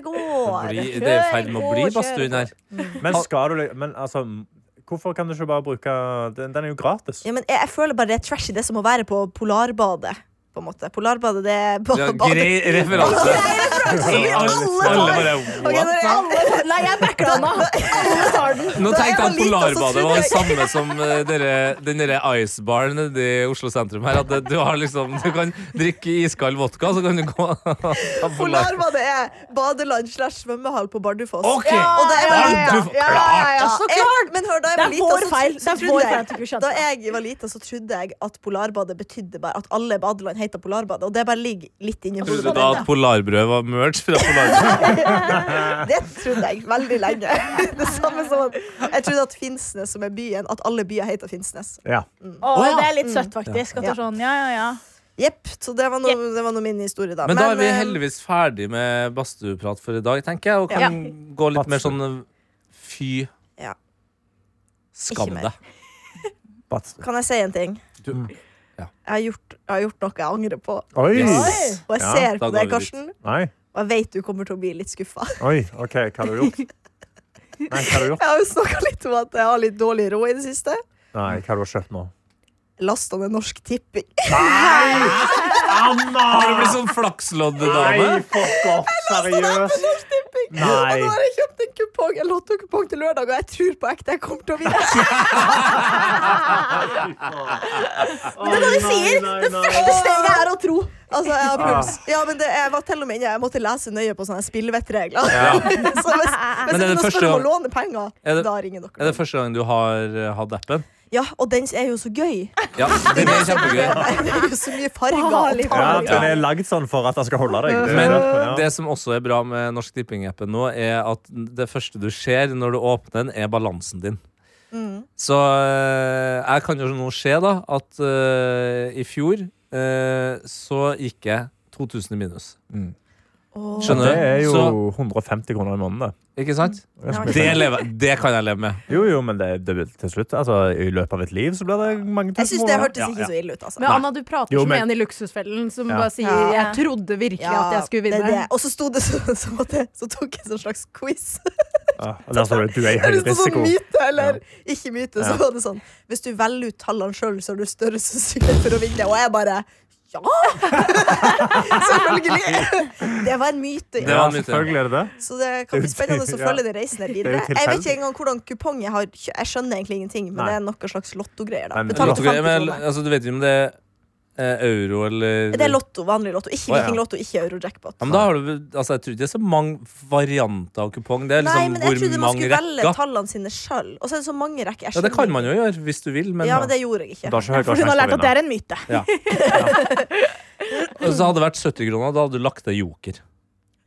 Speaker 2: Bli,
Speaker 5: går.
Speaker 2: det er i ferd med å bli
Speaker 3: Kjør, gå,
Speaker 2: badstuen her.
Speaker 7: Men skal du li- Men altså Hvorfor kan du ikke bare bruke Den, den er jo gratis.
Speaker 5: Ja, men jeg, jeg føler bare det er trashy, det er som å være på Polarbadet. På en måte. Polarbadet, det er ba
Speaker 2: Det er en
Speaker 5: badet.
Speaker 2: grei referanse.
Speaker 5: Alle tar Ok,
Speaker 2: What?
Speaker 5: dere, alle tar- Nei, jeg backer den nå. Alle tar den.
Speaker 2: Nå
Speaker 5: Da jeg
Speaker 2: tenkte jeg at
Speaker 5: liten, så
Speaker 2: Polarbadet
Speaker 5: trodde
Speaker 2: var det
Speaker 5: jeg-
Speaker 2: samme som eh, dere, den derre icebaren nede i Oslo sentrum her. At det- du, har liksom, du kan drikke iskald vodka, så kan du gå og ta Polar.
Speaker 5: Polarbadet er badeland slash svømmehall på Bardufoss.
Speaker 2: OK!
Speaker 5: Og det er
Speaker 2: Ja,
Speaker 5: jeg-
Speaker 2: du får- klart!
Speaker 5: Ja,
Speaker 3: Så
Speaker 5: jeg- Men hør, da jeg
Speaker 3: Det
Speaker 5: var
Speaker 3: er
Speaker 5: lita,
Speaker 3: vår
Speaker 5: så tro-
Speaker 3: feil.
Speaker 5: så
Speaker 3: Det er
Speaker 5: trodde
Speaker 3: vår
Speaker 5: jeg-
Speaker 3: feil at du ikke skjønte
Speaker 5: Da jeg var lita, så trodde jeg at Polarbadet betydde bare at alle badeland heter Polarbadet. Og det bare ligger litt inni
Speaker 2: Trodde du
Speaker 5: hodet.
Speaker 2: da at polarbrød var merch fra Polarbrød?
Speaker 5: Det trodde jeg veldig lenge. Det samme som at Jeg trodde at Finnsnes, som er byen, at alle byer heter Finnsnes.
Speaker 7: Ja.
Speaker 3: Å,
Speaker 2: Å, ja.
Speaker 3: Det er litt søtt, faktisk. At
Speaker 5: Mm. Ja.
Speaker 3: du er sånn, ja, ja, ja.
Speaker 5: Jepp. Så det var nå det var nå min historie, da.
Speaker 2: Men da er vi
Speaker 5: eh,
Speaker 2: heldigvis ferdig med badstueprat for i dag, tenker jeg, og kan gå litt mer sånn eh, fy.
Speaker 5: Ja.
Speaker 2: Skam
Speaker 5: Ikke mer.
Speaker 2: deg.
Speaker 7: Badstue.
Speaker 5: Kan jeg si en ting?
Speaker 2: Du- ja.
Speaker 5: Jeg har gjort, jeg har gjort noe jeg angrer på.
Speaker 7: Oi.
Speaker 2: Yes.
Speaker 5: Og jeg
Speaker 7: Ja,
Speaker 5: ser
Speaker 2: da
Speaker 5: på
Speaker 2: går
Speaker 5: deg,
Speaker 2: vi dit.
Speaker 5: Karsten,
Speaker 7: Nei.
Speaker 5: og jeg vet du kommer til å bli litt skuffa.
Speaker 7: Oi. OK, hva har du gjort? Nei, hva har du gjort?
Speaker 5: Jeg har jo snakka litt om at jeg har litt dårlig råd i det siste.
Speaker 7: Nei, hva har du kjøpt nå?
Speaker 5: Lasta ned Norsk Tipping.
Speaker 2: Har du blitt sånn flaksloddedame?
Speaker 7: fuck off. Seriøst.
Speaker 5: Og nå
Speaker 7: Nei.
Speaker 5: har jeg kjøpt en kupong, en lottokupong til lørdag, og jeg tror på ekte jeg kommer til å vinne. Men det er det de sier! Det første steget er å tro. Altså, jeg har puls. Ja, men det, jeg var til og med inne, jeg måtte lese nøye på sånne spillvettregler. Så hvis,
Speaker 2: Men er
Speaker 5: hvis
Speaker 2: det
Speaker 5: noen
Speaker 2: første
Speaker 5: spør om å
Speaker 2: gang-
Speaker 5: låne penger,
Speaker 2: Er det-
Speaker 5: da ringer
Speaker 2: Er
Speaker 5: dere.
Speaker 2: det første gang du har eh, hatt appen?
Speaker 5: Ja, og den er jo så gøy.
Speaker 2: Ja, det er kjempegøy.
Speaker 5: Det er jo så mye farger og
Speaker 7: Ja,
Speaker 5: tall.
Speaker 7: den er lagd sånn for at den skal holde deg. Det er
Speaker 2: Men
Speaker 7: derfor, ja.
Speaker 2: det som også er bra med Norsk Tipping-appen nå, er at det første du ser når du åpner den, er balansen din.
Speaker 5: Mm.
Speaker 2: Så eh, jeg kan jo nå se da at eh, i fjor eh, så gikk jeg 2000 i minus.
Speaker 5: Åh.
Speaker 2: Skjønner
Speaker 7: Det er
Speaker 2: du?
Speaker 7: jo
Speaker 2: Så,
Speaker 7: 150 kroner i måneden, det.
Speaker 2: ikke sant?
Speaker 5: Mm.
Speaker 7: Det er ganske mye
Speaker 2: Det,
Speaker 7: penger.
Speaker 2: lever, det kan jeg leve med.
Speaker 7: Jo, jo, men det, det vil til slutt altså, I løpet av et liv så blir det mange
Speaker 5: Jeg
Speaker 7: tusen
Speaker 5: syns det
Speaker 7: kroner.
Speaker 5: hørtes ikke så ille ut, altså.
Speaker 6: Men Anna, du prater
Speaker 7: Jo,
Speaker 6: som
Speaker 7: men-
Speaker 6: en i Luksusfellen som
Speaker 7: Ja.
Speaker 6: bare sier
Speaker 5: Ja.
Speaker 6: 'jeg trodde virkelig at jeg skulle
Speaker 5: det er
Speaker 6: vinne'.
Speaker 5: det. Og så sto det sånn som at jeg så tok jeg en sånn slags quiz.
Speaker 7: Ja, og der står det du er i
Speaker 5: Det
Speaker 7: høy
Speaker 5: er sånn
Speaker 7: risiko.
Speaker 5: myte eller ikke myte. Så
Speaker 7: Ja.
Speaker 5: var det sånn Hvis du velger ut tallene sjøl, så har du større sannsynlighet for å vinne. Og jeg bare ja! Selvfølgelig. Det var en myte.
Speaker 2: Det
Speaker 7: Ja,
Speaker 2: var
Speaker 5: Ja.
Speaker 2: myte.
Speaker 7: selvfølgelig er det det.
Speaker 5: Så det kan
Speaker 7: Det er jo
Speaker 5: bli spennende å
Speaker 7: til-
Speaker 5: følge den reisen her
Speaker 7: Det er
Speaker 5: videre.
Speaker 7: jo
Speaker 5: Jeg vet
Speaker 7: tilfeldig.
Speaker 5: ikke engang hvordan kupong jeg har. kjø- Jeg skjønner egentlig ingenting, men
Speaker 7: Nei.
Speaker 5: det er noe slags lottogreier. da.
Speaker 7: Men
Speaker 5: Betaler
Speaker 2: Lotto,
Speaker 5: for 50
Speaker 2: men,
Speaker 5: kroner.
Speaker 2: altså, du vet jo om det er eh, euro eller
Speaker 5: Det er lotto, vanlig lotto. Ikke
Speaker 2: Å, ja.
Speaker 5: vikinglotto, ikke euro-jackpot.
Speaker 2: Ja, men da har du, altså, jeg tror ikke det er så mange varianter av kupong. Det er
Speaker 5: Nei,
Speaker 2: liksom
Speaker 5: men jeg trodde
Speaker 2: hvor
Speaker 5: man
Speaker 2: mange
Speaker 5: skulle velge
Speaker 2: rekker.
Speaker 5: tallene sine sjøl. Og så er det så mange rekker. Jeg
Speaker 2: Ja, det kan
Speaker 5: skjønner
Speaker 2: man jo gjøre hvis du vil, men,
Speaker 5: Ja, men det gjorde jeg ikke.
Speaker 7: Du har ikke høy
Speaker 3: For hun har lært at det er en myte.
Speaker 2: Og så hadde det vært 70 kroner, da hadde du lagt til joker.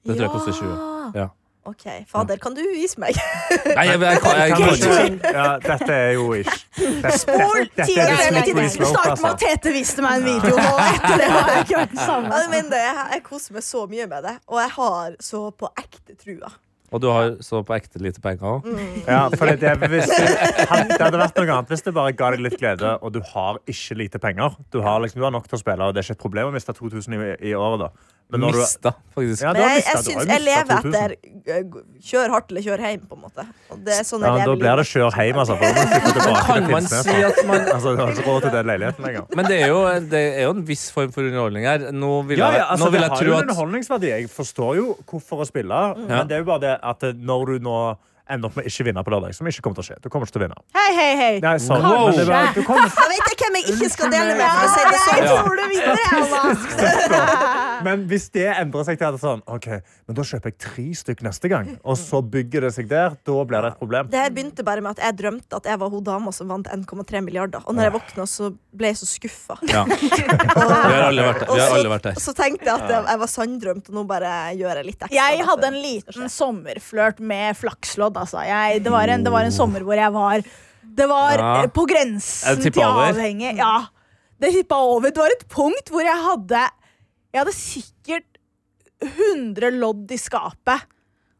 Speaker 2: Det tror jeg koster 20. Ja.
Speaker 5: OK. Fader, kan du vise meg?
Speaker 2: Nei, jeg, jeg, kan- jeg, kan ikke.
Speaker 7: Ja, dette er jo ikke Dette,
Speaker 5: Spol
Speaker 7: dette
Speaker 5: ti
Speaker 7: er
Speaker 5: år frem i
Speaker 7: slippery
Speaker 5: tiden.
Speaker 7: slope,
Speaker 3: Start med
Speaker 7: altså.
Speaker 3: at Tete viste meg en video, og etter det har jeg ikke vært den samme.
Speaker 5: Ja, jeg, mener det. jeg, jeg koser meg så mye med det, og jeg har så på ekte trua.
Speaker 2: Og du har så på ekte lite penger òg.
Speaker 7: Ja, for det, det, hvis det, han- det hadde vært noe annet hvis det bare ga deg litt glede, og du har ikke lite penger. Du har, liksom, du har nok til å spille, og det er ikke et problem å miste 2000 i, i året. da. Men når du,
Speaker 2: Mista, faktisk.
Speaker 7: ja, du
Speaker 5: Men
Speaker 7: har
Speaker 5: jeg, jeg,
Speaker 7: mistet- du har
Speaker 5: syns,
Speaker 7: jo
Speaker 5: jeg
Speaker 7: mistet
Speaker 5: lever
Speaker 7: 2000.
Speaker 5: etter eh, kjør hardt eller kjør hjem, på en måte. Og det er sånn
Speaker 7: Ja,
Speaker 5: jeg
Speaker 7: da
Speaker 5: lever
Speaker 7: blir det
Speaker 5: livet.
Speaker 7: kjør hjem, altså. For da må du flytte tilbake
Speaker 2: Kan
Speaker 7: til
Speaker 2: man
Speaker 7: Finnsnes,
Speaker 2: si
Speaker 7: da.
Speaker 2: at man
Speaker 7: Altså, du har ikke råd til den leiligheten lenger.
Speaker 2: Men det er jo, det er jo en viss form for underholdning her. Nå vil
Speaker 7: Ja,
Speaker 2: jeg,
Speaker 7: ja, altså,
Speaker 2: nå vil
Speaker 7: det
Speaker 2: jeg
Speaker 7: har
Speaker 2: tro
Speaker 7: jo en
Speaker 2: at
Speaker 7: underholdningsverdi. Jeg forstår jo hvorfor å spille,
Speaker 2: Ja.
Speaker 7: men det er jo bare det at eh, når du nå ender opp med å ikke vinne på lørdag, som ikke kommer til å skje Du kommer ikke til å vinne.
Speaker 3: Hei, hei, hei.
Speaker 7: Nei, sorry,
Speaker 2: Wow.
Speaker 7: men det er bare, du kommer,
Speaker 5: Da vet jeg hvem jeg ikke skal dele med, for å si det sånn.
Speaker 2: Ja.
Speaker 5: du vinner, Anna.
Speaker 7: men hvis det endrer seg til at det er sånn OK, men da kjøper jeg tre stykk neste gang, og så bygger det seg der, da blir det et problem.
Speaker 5: Det her begynte bare med at jeg drømte at jeg var hun dama som vant 1,3 milliarder. Og når jeg våkna, så ble jeg så skuffa.
Speaker 2: ja. Vi har alle vært der. Vi har alle vært der.
Speaker 5: Og så tenkte jeg at jeg, jeg var sanndrømt, og nå bare gjør jeg litt ekstra.
Speaker 3: Jeg
Speaker 5: da, for-
Speaker 3: hadde en liten sommerflørt med flakslodd, altså. Jeg, det, var en, det var en sommer hvor jeg var Det var
Speaker 2: Ja.
Speaker 3: eh, på
Speaker 2: Er
Speaker 3: grensen
Speaker 2: det
Speaker 3: til
Speaker 2: tippet over?
Speaker 3: avhengig. Ja. Det tippa over. Det var et punkt hvor jeg hadde Jeg hadde sikkert 100 lodd i skapet.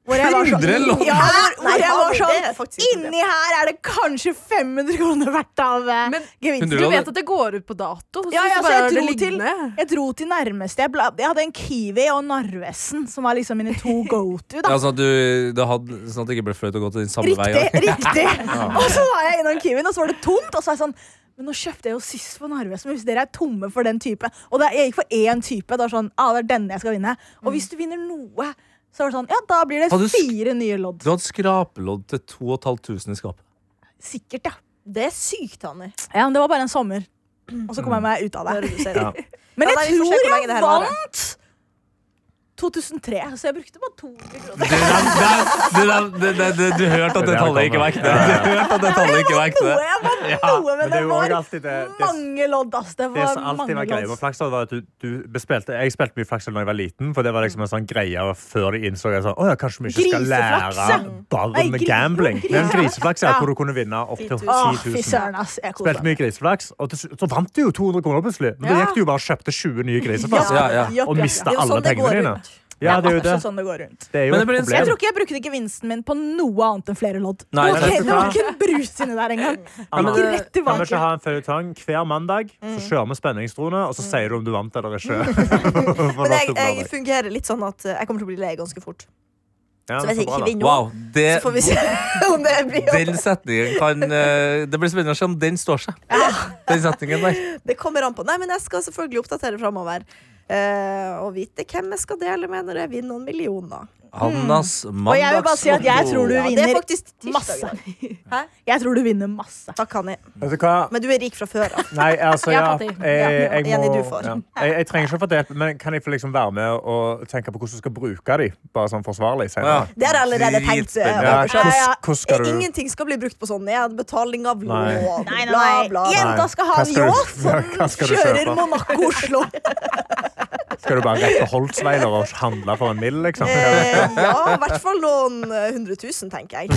Speaker 3: Hvor jeg
Speaker 5: sånn-
Speaker 3: var
Speaker 2: 100 lodd?
Speaker 3: Ja, hvor, hvor
Speaker 5: Nei,
Speaker 3: jeg var
Speaker 5: faen, det er
Speaker 3: sånn
Speaker 5: faktisk et problem.
Speaker 3: Inni her er det kanskje 500 kroner verdt av eh,
Speaker 6: Men
Speaker 3: gevinsten.
Speaker 6: du vet at det går ut på dato.
Speaker 3: Ja,
Speaker 6: hvis
Speaker 3: ja,
Speaker 6: du
Speaker 3: så
Speaker 6: bare
Speaker 3: jeg
Speaker 6: har det
Speaker 3: dro til-
Speaker 6: liggende.
Speaker 3: Jeg dro til nærmeste. Jeg, bla, jeg hadde en Kiwi og Narvesen, som var liksom mine to go to. da
Speaker 2: Ja, sånn at du, det hadde, sånn at det ikke ble flaut å gå til din samme vei.
Speaker 3: Riktig! riktig Og så var jeg innom Kiwien, og så var det tomt. Og så er jeg sånn Men nå kjøpte jeg jo sist på Narvesen, men hvis dere er tomme for den type Og da, jeg gikk for én type. Det var sånn, ah, det er denne jeg skal vinne Og hvis du vinner noe, så var det sånn Ja, da blir
Speaker 2: Har du
Speaker 3: det
Speaker 2: sk-
Speaker 3: fire nye lodd.
Speaker 2: Du hadde skrapelodd til 2500 i skapet.
Speaker 3: Sikkert, ja.
Speaker 5: Det er sykt, Hanni.
Speaker 3: ja. Men det var bare en sommer. Og så kom jeg meg ut av
Speaker 5: Når
Speaker 3: det.
Speaker 5: du sier det.
Speaker 7: Ja.
Speaker 3: Men
Speaker 5: Ja, nei,
Speaker 3: jeg
Speaker 5: vi får se hvor
Speaker 3: tror
Speaker 5: lenge
Speaker 3: jeg
Speaker 5: det her varer.
Speaker 3: vant 2003, så jeg brukte bare 200 kroner.
Speaker 2: Du, hørte at det tallet ikke var ekte. Du hørte at det tallet ikke var
Speaker 3: Noe,
Speaker 2: ekte.
Speaker 3: jeg vant noe, men
Speaker 7: men det
Speaker 3: det
Speaker 7: er jo
Speaker 3: var
Speaker 7: også alltid det- det-
Speaker 3: mange lodd, ass. Det
Speaker 7: Det
Speaker 3: var
Speaker 7: som alltid var
Speaker 3: mange
Speaker 7: greia med
Speaker 3: lodd.
Speaker 7: flakslodd, var at du, du bespilte, Jeg spilte mye flakslodd da jeg var liten, for det var liksom en sånn greie før de innså at sånn, «Å ja, kanskje vi ikke skal
Speaker 3: Griseflaks,
Speaker 7: lære
Speaker 3: ja.
Speaker 7: bare
Speaker 3: Nei,
Speaker 7: med
Speaker 3: gris-
Speaker 7: gambling.
Speaker 3: griseflaks.
Speaker 7: Men griseflaks ja,
Speaker 3: Ja.
Speaker 7: hvor du kunne vinne opp til 10
Speaker 3: Å, fy
Speaker 7: 000.
Speaker 3: søren, ass. Jeg koste
Speaker 7: Spilte mye griseflaks, og til, slutt- så vant du jo 200 kroner plutselig. Men da
Speaker 6: Ja.
Speaker 7: gikk du jo bare og kjøpte 20 nye griseflaks.
Speaker 2: Ja, ja.
Speaker 7: Og
Speaker 5: Det
Speaker 7: mista
Speaker 5: er jo
Speaker 7: alle
Speaker 5: sånn det
Speaker 7: pengene
Speaker 5: går
Speaker 7: dine.
Speaker 5: rundt.
Speaker 7: Ja, det er jo det.
Speaker 3: Sånn det går rundt.
Speaker 7: Det er jo
Speaker 2: Men det
Speaker 7: et
Speaker 2: ble-
Speaker 7: problem.
Speaker 3: Jeg tror ikke jeg brukte ikke gevinsten min på noe annet enn flere lodd.
Speaker 2: Nei,
Speaker 3: det, var
Speaker 7: vet
Speaker 3: ikke,
Speaker 7: du
Speaker 3: det var
Speaker 7: hva?
Speaker 3: ikke en brus inni der engang.
Speaker 7: Anna,
Speaker 3: Gikk rett
Speaker 7: Kan vi ikke
Speaker 3: tilbake.
Speaker 7: ha en føljetong hver mandag? Så kjører vi spenningstroene, og så sier du om du vant eller ikke. For
Speaker 5: Men jeg,
Speaker 7: neste
Speaker 5: jeg
Speaker 7: mandag.
Speaker 5: fungerer litt sånn at eh, jeg kommer til å bli lei ganske fort.
Speaker 7: Ja,
Speaker 5: Så
Speaker 7: men
Speaker 5: hvis jeg
Speaker 7: bra,
Speaker 5: ikke
Speaker 7: da.
Speaker 5: vinner nå,
Speaker 2: Wow, det,
Speaker 5: så får vi se om det blir
Speaker 2: den setningen kan eh, Det blir spennende å se om den står seg. Den setningen der.
Speaker 5: Det kommer an på. Nei, men jeg skal selvfølgelig oppdatere framover. Eh, og vite hvem jeg skal dele med når jeg vinner noen millioner.
Speaker 1: Hannas
Speaker 3: Og jeg vil bare si at jeg tror du
Speaker 5: Ja, det er
Speaker 3: vinner
Speaker 5: faktisk tirsdag.
Speaker 3: masse.
Speaker 5: Hæ?
Speaker 3: Jeg tror du vinner masse.
Speaker 5: Takk, Hanni.
Speaker 7: Vet du hva?
Speaker 5: Men du er rik fra før av.
Speaker 7: Nei, altså,
Speaker 6: Jeg er
Speaker 7: ja,
Speaker 6: fattig.
Speaker 7: jeg, jeg,
Speaker 5: Ja, enig,
Speaker 7: må,
Speaker 5: du får.
Speaker 7: ja. jeg, jeg trenger ikke å få det, men kan jeg få liksom være med og tenke på hvordan du skal bruke dem? Bare sånn forsvarlig senere.
Speaker 5: Det har jeg allerede tenkt. eh,
Speaker 7: Ja,
Speaker 5: over selv.
Speaker 7: hvordan, hvordan skal du
Speaker 5: Ingenting skal bli brukt på sånn nedbetaling av
Speaker 7: Nei.
Speaker 5: lån.
Speaker 3: Nei, nei,
Speaker 5: Bla,
Speaker 3: nei.
Speaker 5: bla.
Speaker 7: Nei.
Speaker 3: Jenta skal ha
Speaker 7: Hva
Speaker 3: en
Speaker 7: skal du-
Speaker 3: yacht
Speaker 7: Ja, hva skal du
Speaker 5: Kjører
Speaker 7: kjøpe?
Speaker 5: Monaco-Oslo.
Speaker 7: Skal du bare rett på Holtzweiler og handle for en mill, liksom?
Speaker 5: Eh, ja, i hvert fall noen eh, hundre tusen, tenker jeg.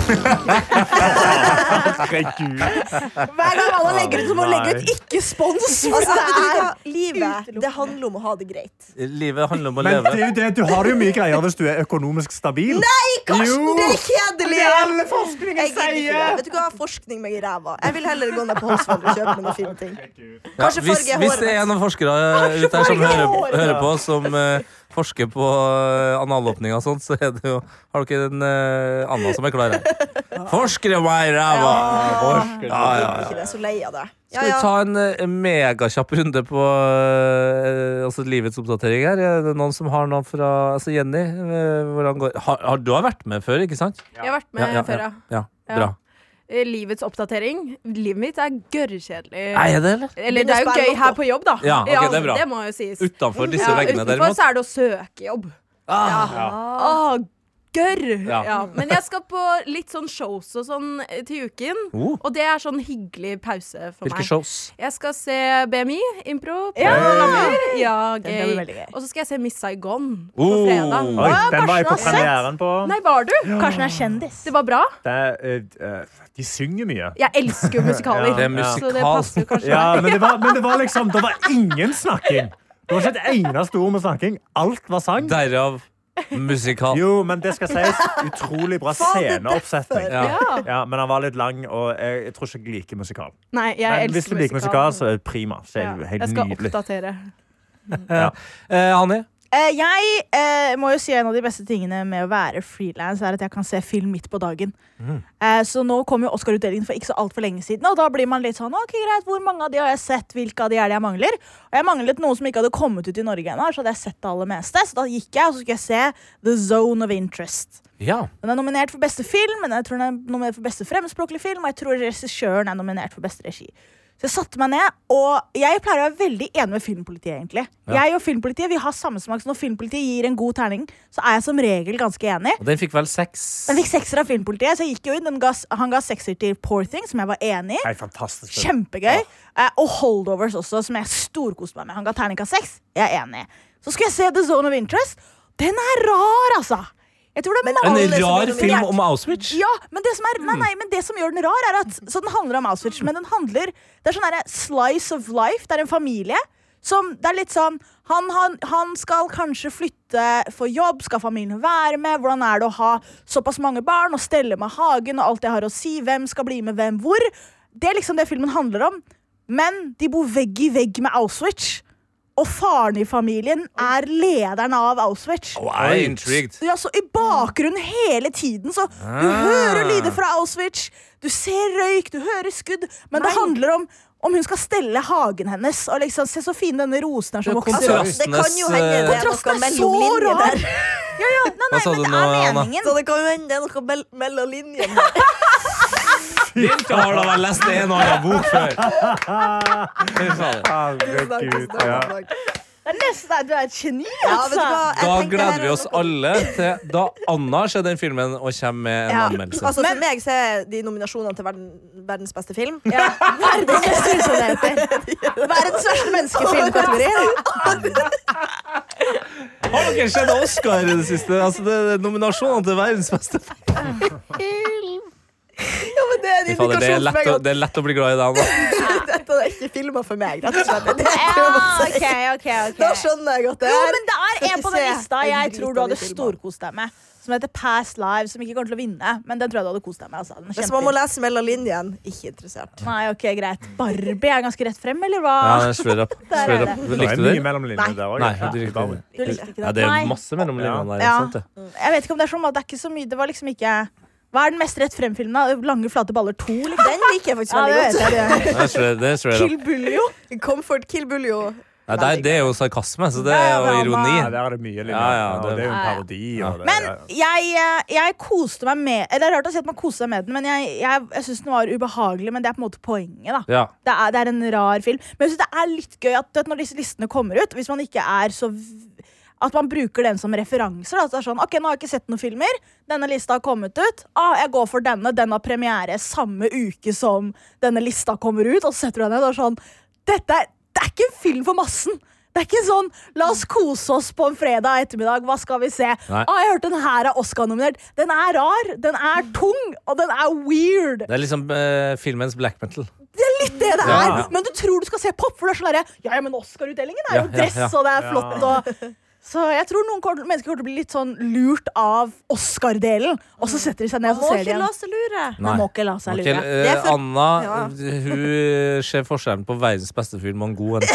Speaker 7: Herregud.
Speaker 5: Hver gang alle legger ut, så må du legge ut ikke spons! Altså, det er livet.
Speaker 3: utelukkende.
Speaker 5: Det handler om å ha det greit.
Speaker 2: Livet handler om å
Speaker 7: Men det
Speaker 2: leve.
Speaker 7: er jo det, du har det jo mye greier hvis du er økonomisk stabil.
Speaker 5: Nei, Karsten,
Speaker 7: Jo.
Speaker 5: det er kjedelig!
Speaker 7: forskningen
Speaker 5: Jeg gidder ikke det. Vet du hva, forskning meg i ræva. Jeg vil heller gå ned på Holsvoll og kjøpe meg noen fine ting.
Speaker 2: Ja,
Speaker 5: Kanskje
Speaker 2: hvis,
Speaker 5: farge i
Speaker 2: hvis
Speaker 5: håret
Speaker 2: det er
Speaker 5: mitt.
Speaker 2: noen forskere ute her som
Speaker 5: farge i
Speaker 2: hører,
Speaker 5: håret.
Speaker 2: hører på, som eh, forsker på eh, analåpning og sånt, så er det jo, har dere en uh, annen som er klar her. Forskere meg i ræva! Ja,
Speaker 5: Jeg
Speaker 2: ja,
Speaker 5: liker
Speaker 2: ja.
Speaker 5: ikke det. Jeg er så lei av det. Ja,
Speaker 2: Skal vi
Speaker 5: ja.
Speaker 2: ta en eh, megakjapp runde på eh, altså livets oppdatering her? Er det noen som har noe fra altså Jenny? eh, hvordan går har, har, Du har vært med før, ikke sant?
Speaker 6: Jeg har vært med
Speaker 2: Ja, ja,
Speaker 6: før, ja.
Speaker 2: Ja,
Speaker 6: Ja.
Speaker 2: bra.
Speaker 6: Eh, Livets oppdatering. Livet mitt er gørrkjedelig.
Speaker 2: Er jeg det, eller?
Speaker 6: Eller det er jo
Speaker 5: Begynner å spille
Speaker 6: gøy
Speaker 5: opp,
Speaker 6: her på jobb, da.
Speaker 2: Ja, ok, det er bra.
Speaker 6: må jo sies.
Speaker 2: Utenfor disse
Speaker 6: Ja,
Speaker 2: veggene,
Speaker 6: utenfor
Speaker 2: derimot?
Speaker 6: så er det å søke jobb. Ah, gørr!
Speaker 2: Ja.
Speaker 6: Ja. Men jeg skal på litt sånn shows og sånn eh, til uken.
Speaker 2: Oh,
Speaker 6: Og det er sånn hyggelig pause for
Speaker 2: hvilke
Speaker 6: meg.
Speaker 2: shows?
Speaker 6: Jeg skal se BMI, impro. på
Speaker 3: Ja!
Speaker 6: Latter. ja
Speaker 3: Det blir
Speaker 6: gøy.
Speaker 3: veldig gøy.
Speaker 6: Og så skal jeg se Miss Saigon på
Speaker 2: Oh.
Speaker 6: fredag.
Speaker 7: Oi, den var jeg på
Speaker 3: Karsten har
Speaker 7: premieren på.
Speaker 6: Nei, var du?
Speaker 3: Karsten er kjendis.
Speaker 6: Det var bra.
Speaker 7: Det, eh, eh, de synger mye.
Speaker 6: Jeg elsker jo musikaler.
Speaker 7: Ja, det er
Speaker 6: Så det
Speaker 2: musikal.
Speaker 6: passer jo kanskje.
Speaker 7: Ja, men det var, men det var liksom Det var ingen snakking. Det var ikke et eneste ord med snakking. Alt var sang.
Speaker 2: Derav musikal.
Speaker 7: Jo, men det skal sies. Utrolig bra
Speaker 5: Faen, det er
Speaker 7: sceneoppsetning.
Speaker 2: Ja.
Speaker 6: Ja.
Speaker 7: Ja, men han var litt lang, og jeg, jeg tror ikke jeg liker musikal.
Speaker 6: Nei, jeg
Speaker 7: Men
Speaker 6: elsker
Speaker 7: hvis du liker musikal, så er det prima. Så er
Speaker 6: Ja,
Speaker 7: det jo
Speaker 6: Jeg
Speaker 7: helt
Speaker 6: skal
Speaker 7: nydelig.
Speaker 6: oppdatere.
Speaker 2: Eh, Hanni?
Speaker 3: Eh, jeg eh, må jo si en av de beste tingene med å være frilans, er at jeg kan se film midt på dagen. Eh, så nå kom jo Oscar-utdelingen for ikke så altfor lenge siden, og da blir man litt sånn OK, greit, hvor mange av de har jeg sett, hvilke av de er det jeg mangler? Og jeg manglet noen som ikke hadde kommet ut i Norge ennå, så hadde jeg sett det aller meste. Så da gikk jeg, og så skulle jeg se The Zone of Interest.
Speaker 2: Ja.
Speaker 3: Den er nominert for beste film, men jeg tror den er nominert for beste fremmedspråklig film, og jeg tror regissøren er nominert for beste regi. Så jeg satte meg ned, og jeg pleier å være veldig enig med filmpolitiet, egentlig. Jeg og filmpolitiet vi har samme smak, så når filmpolitiet gir en god terning, så er jeg som regel ganske enig.
Speaker 2: Og den fikk vel seks?
Speaker 3: Den fikk sekser av filmpolitiet, så jeg gikk jo inn. Den ga, han ga sekser til Poor Thing, som jeg var enig i.
Speaker 7: Nei, fantastisk.
Speaker 3: Kjempegøy. Eh, og Holdovers også, som jeg storkoste meg med. Han ga terningkast seks. Jeg er enig. Så skal jeg se The Zone of Interest. Den er rar, altså! Jeg tror det er
Speaker 2: En
Speaker 3: mange som er
Speaker 2: rar
Speaker 3: nominert.
Speaker 2: film om Auschwitz? Mm.
Speaker 3: Ja, men det som, er, nei, nei, men det som gjør den rar, er at Så den handler om Auschwitz, men den handler Det er sånn derre slice of life. Det er en familie som Det er litt sånn han, han, han skal kanskje flytte for jobb, skal familien være med? Hvordan er det å ha såpass mange barn og stelle med hagen og alt det har å si? Hvem skal bli med hvem hvor? Det er liksom det filmen handler om. Men de bor vegg i vegg med Auschwitz. Og faren i familien er lederen av Auschwitz.
Speaker 2: Oh, jeg er intrigued.
Speaker 3: Ja, så I bakgrunnen hele tiden. Så du
Speaker 2: Ah.
Speaker 3: hører lyder fra Auschwitz, du ser røyk, du hører skudd. Men det handler om om hun skal stelle hagen hennes. Og liksom, Se så fine denne rosen er som
Speaker 2: Ja,
Speaker 3: vokser
Speaker 5: Altså,
Speaker 3: opp.
Speaker 5: det kan jo hende
Speaker 2: eh,
Speaker 5: det er noe
Speaker 3: Kontrasten er så
Speaker 5: mellom linjer
Speaker 3: rar!
Speaker 5: der.
Speaker 3: Ja, ja, nei, nei,
Speaker 2: Hva sa
Speaker 3: men
Speaker 2: du
Speaker 3: det
Speaker 2: nå,
Speaker 3: er
Speaker 2: Anna?
Speaker 3: meningen.
Speaker 5: Så det kan jo hende det er noe mell mellom linjene. her.
Speaker 2: Ikke har da vel lest en og annen bok før! Fy faen.
Speaker 7: Herregud. Ja.
Speaker 3: Det er nesten, du er et geni,
Speaker 5: Ja, vet du
Speaker 3: altså!
Speaker 5: hva? Jeg
Speaker 2: Da
Speaker 5: tenker her
Speaker 2: gleder vi
Speaker 5: er
Speaker 2: oss
Speaker 5: noe-
Speaker 2: alle til da Anna ser den filmen og kommer med en
Speaker 3: Ja.
Speaker 2: anmeldelse.
Speaker 5: Altså, for meg så er de nominasjonene til verden, verdens beste film.
Speaker 3: Ja, verdens beste film, som det heter. Verdens verste menneskefilmkategori.
Speaker 2: Har dere sett Oscar i det siste? Altså, det er nominasjonene til verdens beste film.
Speaker 5: Ja, men det er
Speaker 2: Fy faen,
Speaker 5: en
Speaker 2: Det, er
Speaker 5: indikasjon for
Speaker 2: lett
Speaker 5: meg
Speaker 2: å-
Speaker 5: at
Speaker 2: det er lett å bli glad i deg, Anna.
Speaker 5: dette er ikke filmer for meg. Rett og slett. Det er det jeg prøver å si. Da skjønner jeg at det
Speaker 3: sånn Jo,
Speaker 5: er
Speaker 3: men det er en på den
Speaker 5: sånn Skal vi se.
Speaker 3: lista jeg
Speaker 5: En
Speaker 3: tror du
Speaker 5: dritdårlig
Speaker 3: hadde
Speaker 5: film, da.
Speaker 3: storkost deg med. Som heter Past Live, som ikke kommer til å vinne. Men den tror jeg du hadde kost deg med. Altså. Den er
Speaker 5: Det er som om å
Speaker 3: kjempefin.
Speaker 5: lese mellom linjene. Ikke interessert.
Speaker 3: Nei, ok, greit. Barbie er ganske rett frem, eller hva?
Speaker 2: Ja, det er straight up.
Speaker 3: Der er
Speaker 2: Straight
Speaker 3: det.
Speaker 2: up.
Speaker 7: Det
Speaker 2: Likte
Speaker 7: er
Speaker 2: du
Speaker 7: mye
Speaker 2: den?
Speaker 7: mellom
Speaker 3: Nei.
Speaker 7: linjene der òg.
Speaker 2: Nei, du likte den.
Speaker 3: Du likte ikke
Speaker 2: Ja,
Speaker 3: den?
Speaker 2: det er
Speaker 3: Nei.
Speaker 2: masse mellom linjene der.
Speaker 3: Ja.
Speaker 2: sant det?
Speaker 3: Jeg vet ikke om det er sånn, at det er ikke så mye. Det var liksom ikke Hva er den mest rett frem-filmen? da? Lange, flate baller 2? Liksom.
Speaker 5: Den liker jeg faktisk
Speaker 3: Ja, det vet
Speaker 5: veldig godt.
Speaker 3: jeg. Det.
Speaker 2: Det er straight- Det er straight up.
Speaker 5: Kill Buljo. Comfort Kill Buljo.
Speaker 2: Nei, det, er- det er jo sarkasme, så det
Speaker 3: Det
Speaker 2: er
Speaker 3: er
Speaker 2: jo
Speaker 3: drama.
Speaker 8: Ja,
Speaker 2: ironi.
Speaker 8: der er det mye. Lina.
Speaker 2: Ja, ja,
Speaker 8: Og
Speaker 2: det-
Speaker 8: det, er jo en
Speaker 3: Ja, ja.
Speaker 8: parodi. Og det,
Speaker 3: Men jeg, eh, jeg koste meg med Eller jeg har hørt deg si at man koser seg med den, men jeg, jeg, jeg syns den var ubehagelig. Men det er på en måte poenget, da.
Speaker 2: Ja.
Speaker 3: Det er, det er en rar film. Men jeg synes det er litt gøy at du vet, når disse listene kommer ut, hvis man ikke er så v- At man bruker den som referanser. Da. At det er sånn, ok, Nå har jeg ikke sett noen filmer. Denne lista har kommet ut. Ah, jeg går for denne. Den har premiere samme uke som denne lista kommer ut. Og så setter du deg ned og er sånn Dette er, det er ikke en film for massen. Det er ikke sånn 'la oss kose oss på en fredag ettermiddag', hva skal vi se?
Speaker 2: Nei.
Speaker 3: Ah, jeg hørte den her er Oscar-nominert. Den er rar, den er tung, og den er weird.
Speaker 2: Det er liksom eh, filmens black metal.
Speaker 3: litt det det
Speaker 2: Ja,
Speaker 3: er.
Speaker 2: ja.
Speaker 3: Men du tror du skal se pop, for det er sånn derre Ja, ja, men Oscar-utdelingen er
Speaker 2: Ja,
Speaker 3: jo
Speaker 2: ja,
Speaker 3: dress,
Speaker 2: ja.
Speaker 3: og det er flott, og så jeg tror noen kommer- mennesker kommer til å bli litt sånn lurt av Oscar-delen. Og så setter de seg ned og
Speaker 5: Man må
Speaker 3: så ser de
Speaker 5: ikke
Speaker 3: igjen.
Speaker 5: la seg lure.
Speaker 2: Nei.
Speaker 3: Man må ikke la seg
Speaker 2: Ok,
Speaker 3: lure.
Speaker 2: eh,
Speaker 5: Det er for-
Speaker 2: Anna
Speaker 5: Ja.
Speaker 2: hun eh, ser forskjellen på verdens beste film og en god en.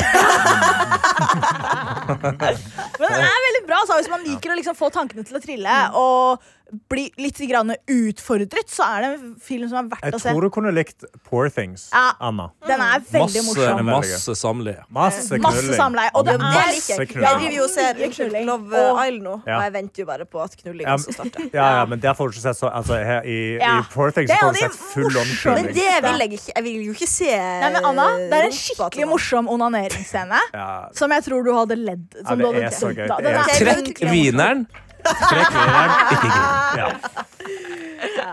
Speaker 3: Men den er veldig bra, altså, hvis man liker å liksom få tankene til å trille og bli litt grann utfordret, så er det en film som er verdt
Speaker 7: Jeg
Speaker 3: å se.
Speaker 7: tror du kunne likt Poor Things,
Speaker 3: Ja.
Speaker 7: Anna.
Speaker 3: Den er veldig
Speaker 2: Masse,
Speaker 3: morsom.
Speaker 2: masse samleie.
Speaker 7: Masse
Speaker 3: Masse
Speaker 7: knulling.
Speaker 3: samleie. Og det
Speaker 7: Ja,
Speaker 3: er
Speaker 7: masse
Speaker 3: litt
Speaker 7: knulling.
Speaker 5: Jeg driver jo og ser
Speaker 3: Mye
Speaker 5: unnskyld,
Speaker 3: knulling.
Speaker 5: Love eh,
Speaker 3: Og-
Speaker 5: Isle nå,
Speaker 7: Ja.
Speaker 5: og jeg venter jo bare på at
Speaker 7: Ja,
Speaker 5: knullingen skal starte.
Speaker 7: Ja, ja, men der får du ikke sett så altså, her i,
Speaker 3: Ja.
Speaker 7: i Poor Things
Speaker 3: Det er
Speaker 7: får
Speaker 3: jo
Speaker 7: du
Speaker 3: de
Speaker 7: sett full on
Speaker 3: morsomste.
Speaker 5: Men
Speaker 7: kjøring.
Speaker 5: det vil jeg ikke. Jeg vil jo ikke se
Speaker 3: Nei, men Anna, det er en
Speaker 5: rumpa til
Speaker 3: skikkelig
Speaker 5: noen.
Speaker 3: morsom onaneringsscene
Speaker 7: Ja.
Speaker 3: som jeg tror du hadde ledd. Som
Speaker 7: det
Speaker 3: du hadde
Speaker 7: er så
Speaker 3: dødd
Speaker 7: gøy.
Speaker 3: av.
Speaker 7: Det
Speaker 3: Den
Speaker 7: er
Speaker 3: er-
Speaker 5: så gøy.
Speaker 2: Trekk wieneren.
Speaker 7: Trekk linjer, ikke grin. Ja.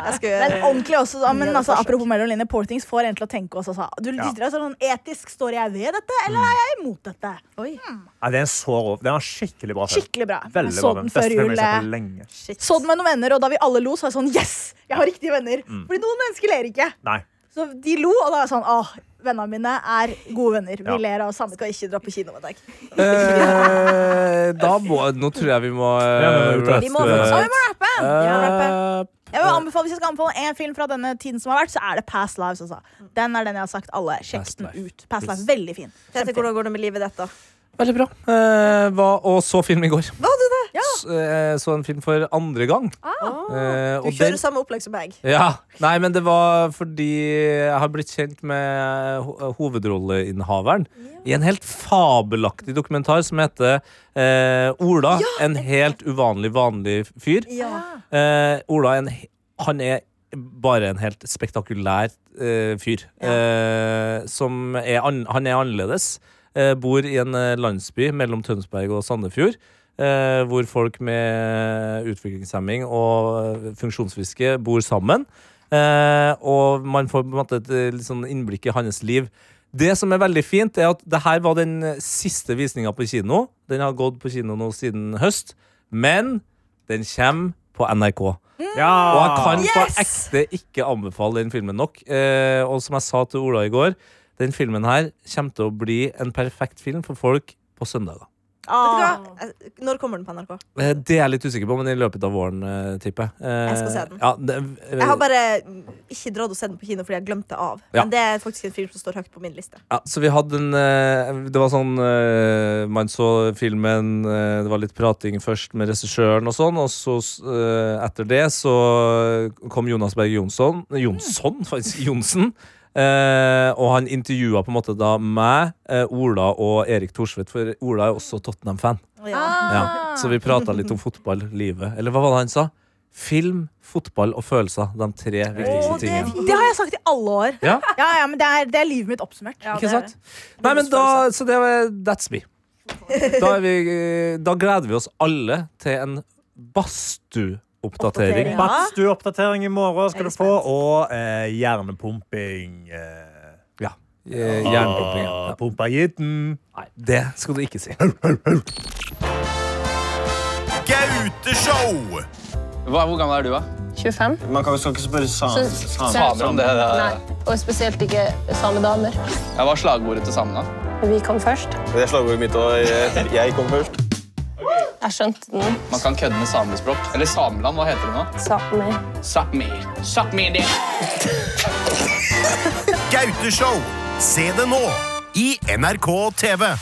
Speaker 5: Jeg skal
Speaker 3: Men
Speaker 5: gjøre
Speaker 3: ordentlig også, da, men
Speaker 5: Gjør et
Speaker 3: altså,
Speaker 5: forsøk.
Speaker 3: apropos mellom linjer, poor things får en til å tenke også. Altså. Du
Speaker 7: Ja.
Speaker 3: sitter der sånn etisk, står jeg ved dette, eller er jeg imot dette? Hmm.
Speaker 5: Oi,
Speaker 7: Ja, det er en så rå. Det er en skikkelig bra film.
Speaker 3: Skikkelig bra. Jeg
Speaker 7: Veldig
Speaker 3: så
Speaker 7: bra film.
Speaker 3: den før
Speaker 7: Beste film
Speaker 3: jul.
Speaker 7: jeg har sett på
Speaker 3: eh,
Speaker 7: lenge.
Speaker 5: shit.
Speaker 3: Så den med noen venner, og da vi alle lo, så var jeg sånn yes! Jeg har riktige venner. Fordi noen mennesker ler ikke.
Speaker 7: Nei.
Speaker 3: Så de lo, og da var jeg sånn åh, vennene mine er gode venner. Vi
Speaker 7: Ja.
Speaker 3: ler av samme
Speaker 5: Skal ikke dra på kino med deg.
Speaker 2: Eh, da må Nå tror jeg vi må
Speaker 7: Ja, men vi må
Speaker 2: eh,
Speaker 7: Vi
Speaker 5: må
Speaker 2: rappe.
Speaker 5: faktisk-
Speaker 3: rappe.
Speaker 2: Eh,
Speaker 3: Jeg vil anbefale, Hvis jeg skal anbefale en film fra denne tiden som har vært, så er det Past Lives. Altså.
Speaker 5: Mm.
Speaker 3: Den er den jeg har sagt alle. Sjekk
Speaker 2: Past
Speaker 3: den
Speaker 2: Life.
Speaker 3: ut. Past Life, Veldig fin.
Speaker 5: Tete, hvordan går det med livet ditt, da?
Speaker 2: Veldig bra. Eh, var, og så film i går.
Speaker 5: Var det det?
Speaker 2: S- eh, så en film for andre gang. Eh,
Speaker 5: Du
Speaker 2: og den-
Speaker 5: kjører samme opplegg som meg.
Speaker 2: Ja, Nei, men det var fordi jeg har blitt kjent med eh, ho- hovedrolleinnehaveren i en helt fabelaktig dokumentar som heter eh, Ola, en helt uvanlig vanlig fyr.
Speaker 5: Ja.
Speaker 2: Eh, Ola er en, he- han er bare en helt spektakulær eh, fyr. Eh, som er an, han er annerledes. Eh, bor i en eh, landsby mellom Tønsberg og Sandefjord. Eh, hvor folk med utviklingshemming og eh, funksjonsfiske bor sammen. Eh, og man får på en måte et eh, litt sånn innblikk i hans liv. Det som er veldig fint, er at det her var den eh, siste visninga på kino. Den har gått på kino nå siden høst. Men den kommer på NRK.
Speaker 3: eh.
Speaker 7: Ja.
Speaker 2: Og jeg kan på
Speaker 5: Ah, Yes!
Speaker 2: ekte ikke anbefale den filmen nok. Eh, og som jeg sa til Ola i går, den filmen her kommer til å bli en perfekt film for folk på søndager.
Speaker 5: Vet du hva?
Speaker 3: Ah.
Speaker 5: Jeg- Når kommer den på NRK?
Speaker 2: Eh, Det er jeg litt usikker på, men i løpet av våren, eh, tipper jeg. Eh,
Speaker 5: Jeg skal se den.
Speaker 2: Ja, det,
Speaker 5: Jeg har bare ikke dratt og sett den på kino fordi jeg glemte det av.
Speaker 2: Eh, Ja.
Speaker 5: Men det er faktisk en film som står høyt på min liste.
Speaker 2: Ja, så vi hadde en eh, Det var sånn eh, Man så filmen, eh, det var litt prating først med regissøren og sånn, og så eh, etter det så kom Jonas Berg Jonsson Jonsson, faktisk! Johnsen. Eh, og han intervjua på en måte da meg, eh, Ola og Erik Thorsvedt, for Ola er også Tottenham-fan.
Speaker 5: Ja. Ah.
Speaker 2: Ja, så vi prata litt om fotball, livet. Eller hva var det han sa? Film, fotball og følelser. De tre viktigste
Speaker 5: det er
Speaker 2: tingene.
Speaker 5: fint.
Speaker 3: Det har jeg sagt i alle år.
Speaker 2: Ja.
Speaker 3: ja, ja, men det er, det er livet mitt oppsummert.
Speaker 5: Ja, det
Speaker 2: Ikke
Speaker 5: er
Speaker 2: sant? Nei, men da, så det var That's me. Da, er vi, eh, da gleder vi oss alle til en badstueoppdatering.
Speaker 3: Oppdatering.
Speaker 7: Badstueoppdatering i morgen
Speaker 5: Jeg
Speaker 7: skal
Speaker 5: er
Speaker 7: du få, og eh, hjernepumping. Eh,
Speaker 2: Ja. eh, Jernpumping. ja.
Speaker 7: ah, Pumpa jitten.
Speaker 2: Nei, det skal du ikke si.
Speaker 10: Gauteshow!
Speaker 11: hvor gammel er du, da? 25.
Speaker 10: Man kan, skal ikke spørre samer
Speaker 11: Samer om det.
Speaker 10: Nei.
Speaker 11: Og spesielt ikke samedamer. Ja, hva er slagordet til samene? Vi kom først.
Speaker 10: Det er slagordet mitt, og jeg, jeg kom først.
Speaker 11: Jeg skjønte den. Man kan kødde med samespråk. Eller sameland, hva heter det nå? Sápmi. Sápmi. Sápmi det.
Speaker 10: Gauteshow! Se det nå i NRK TV.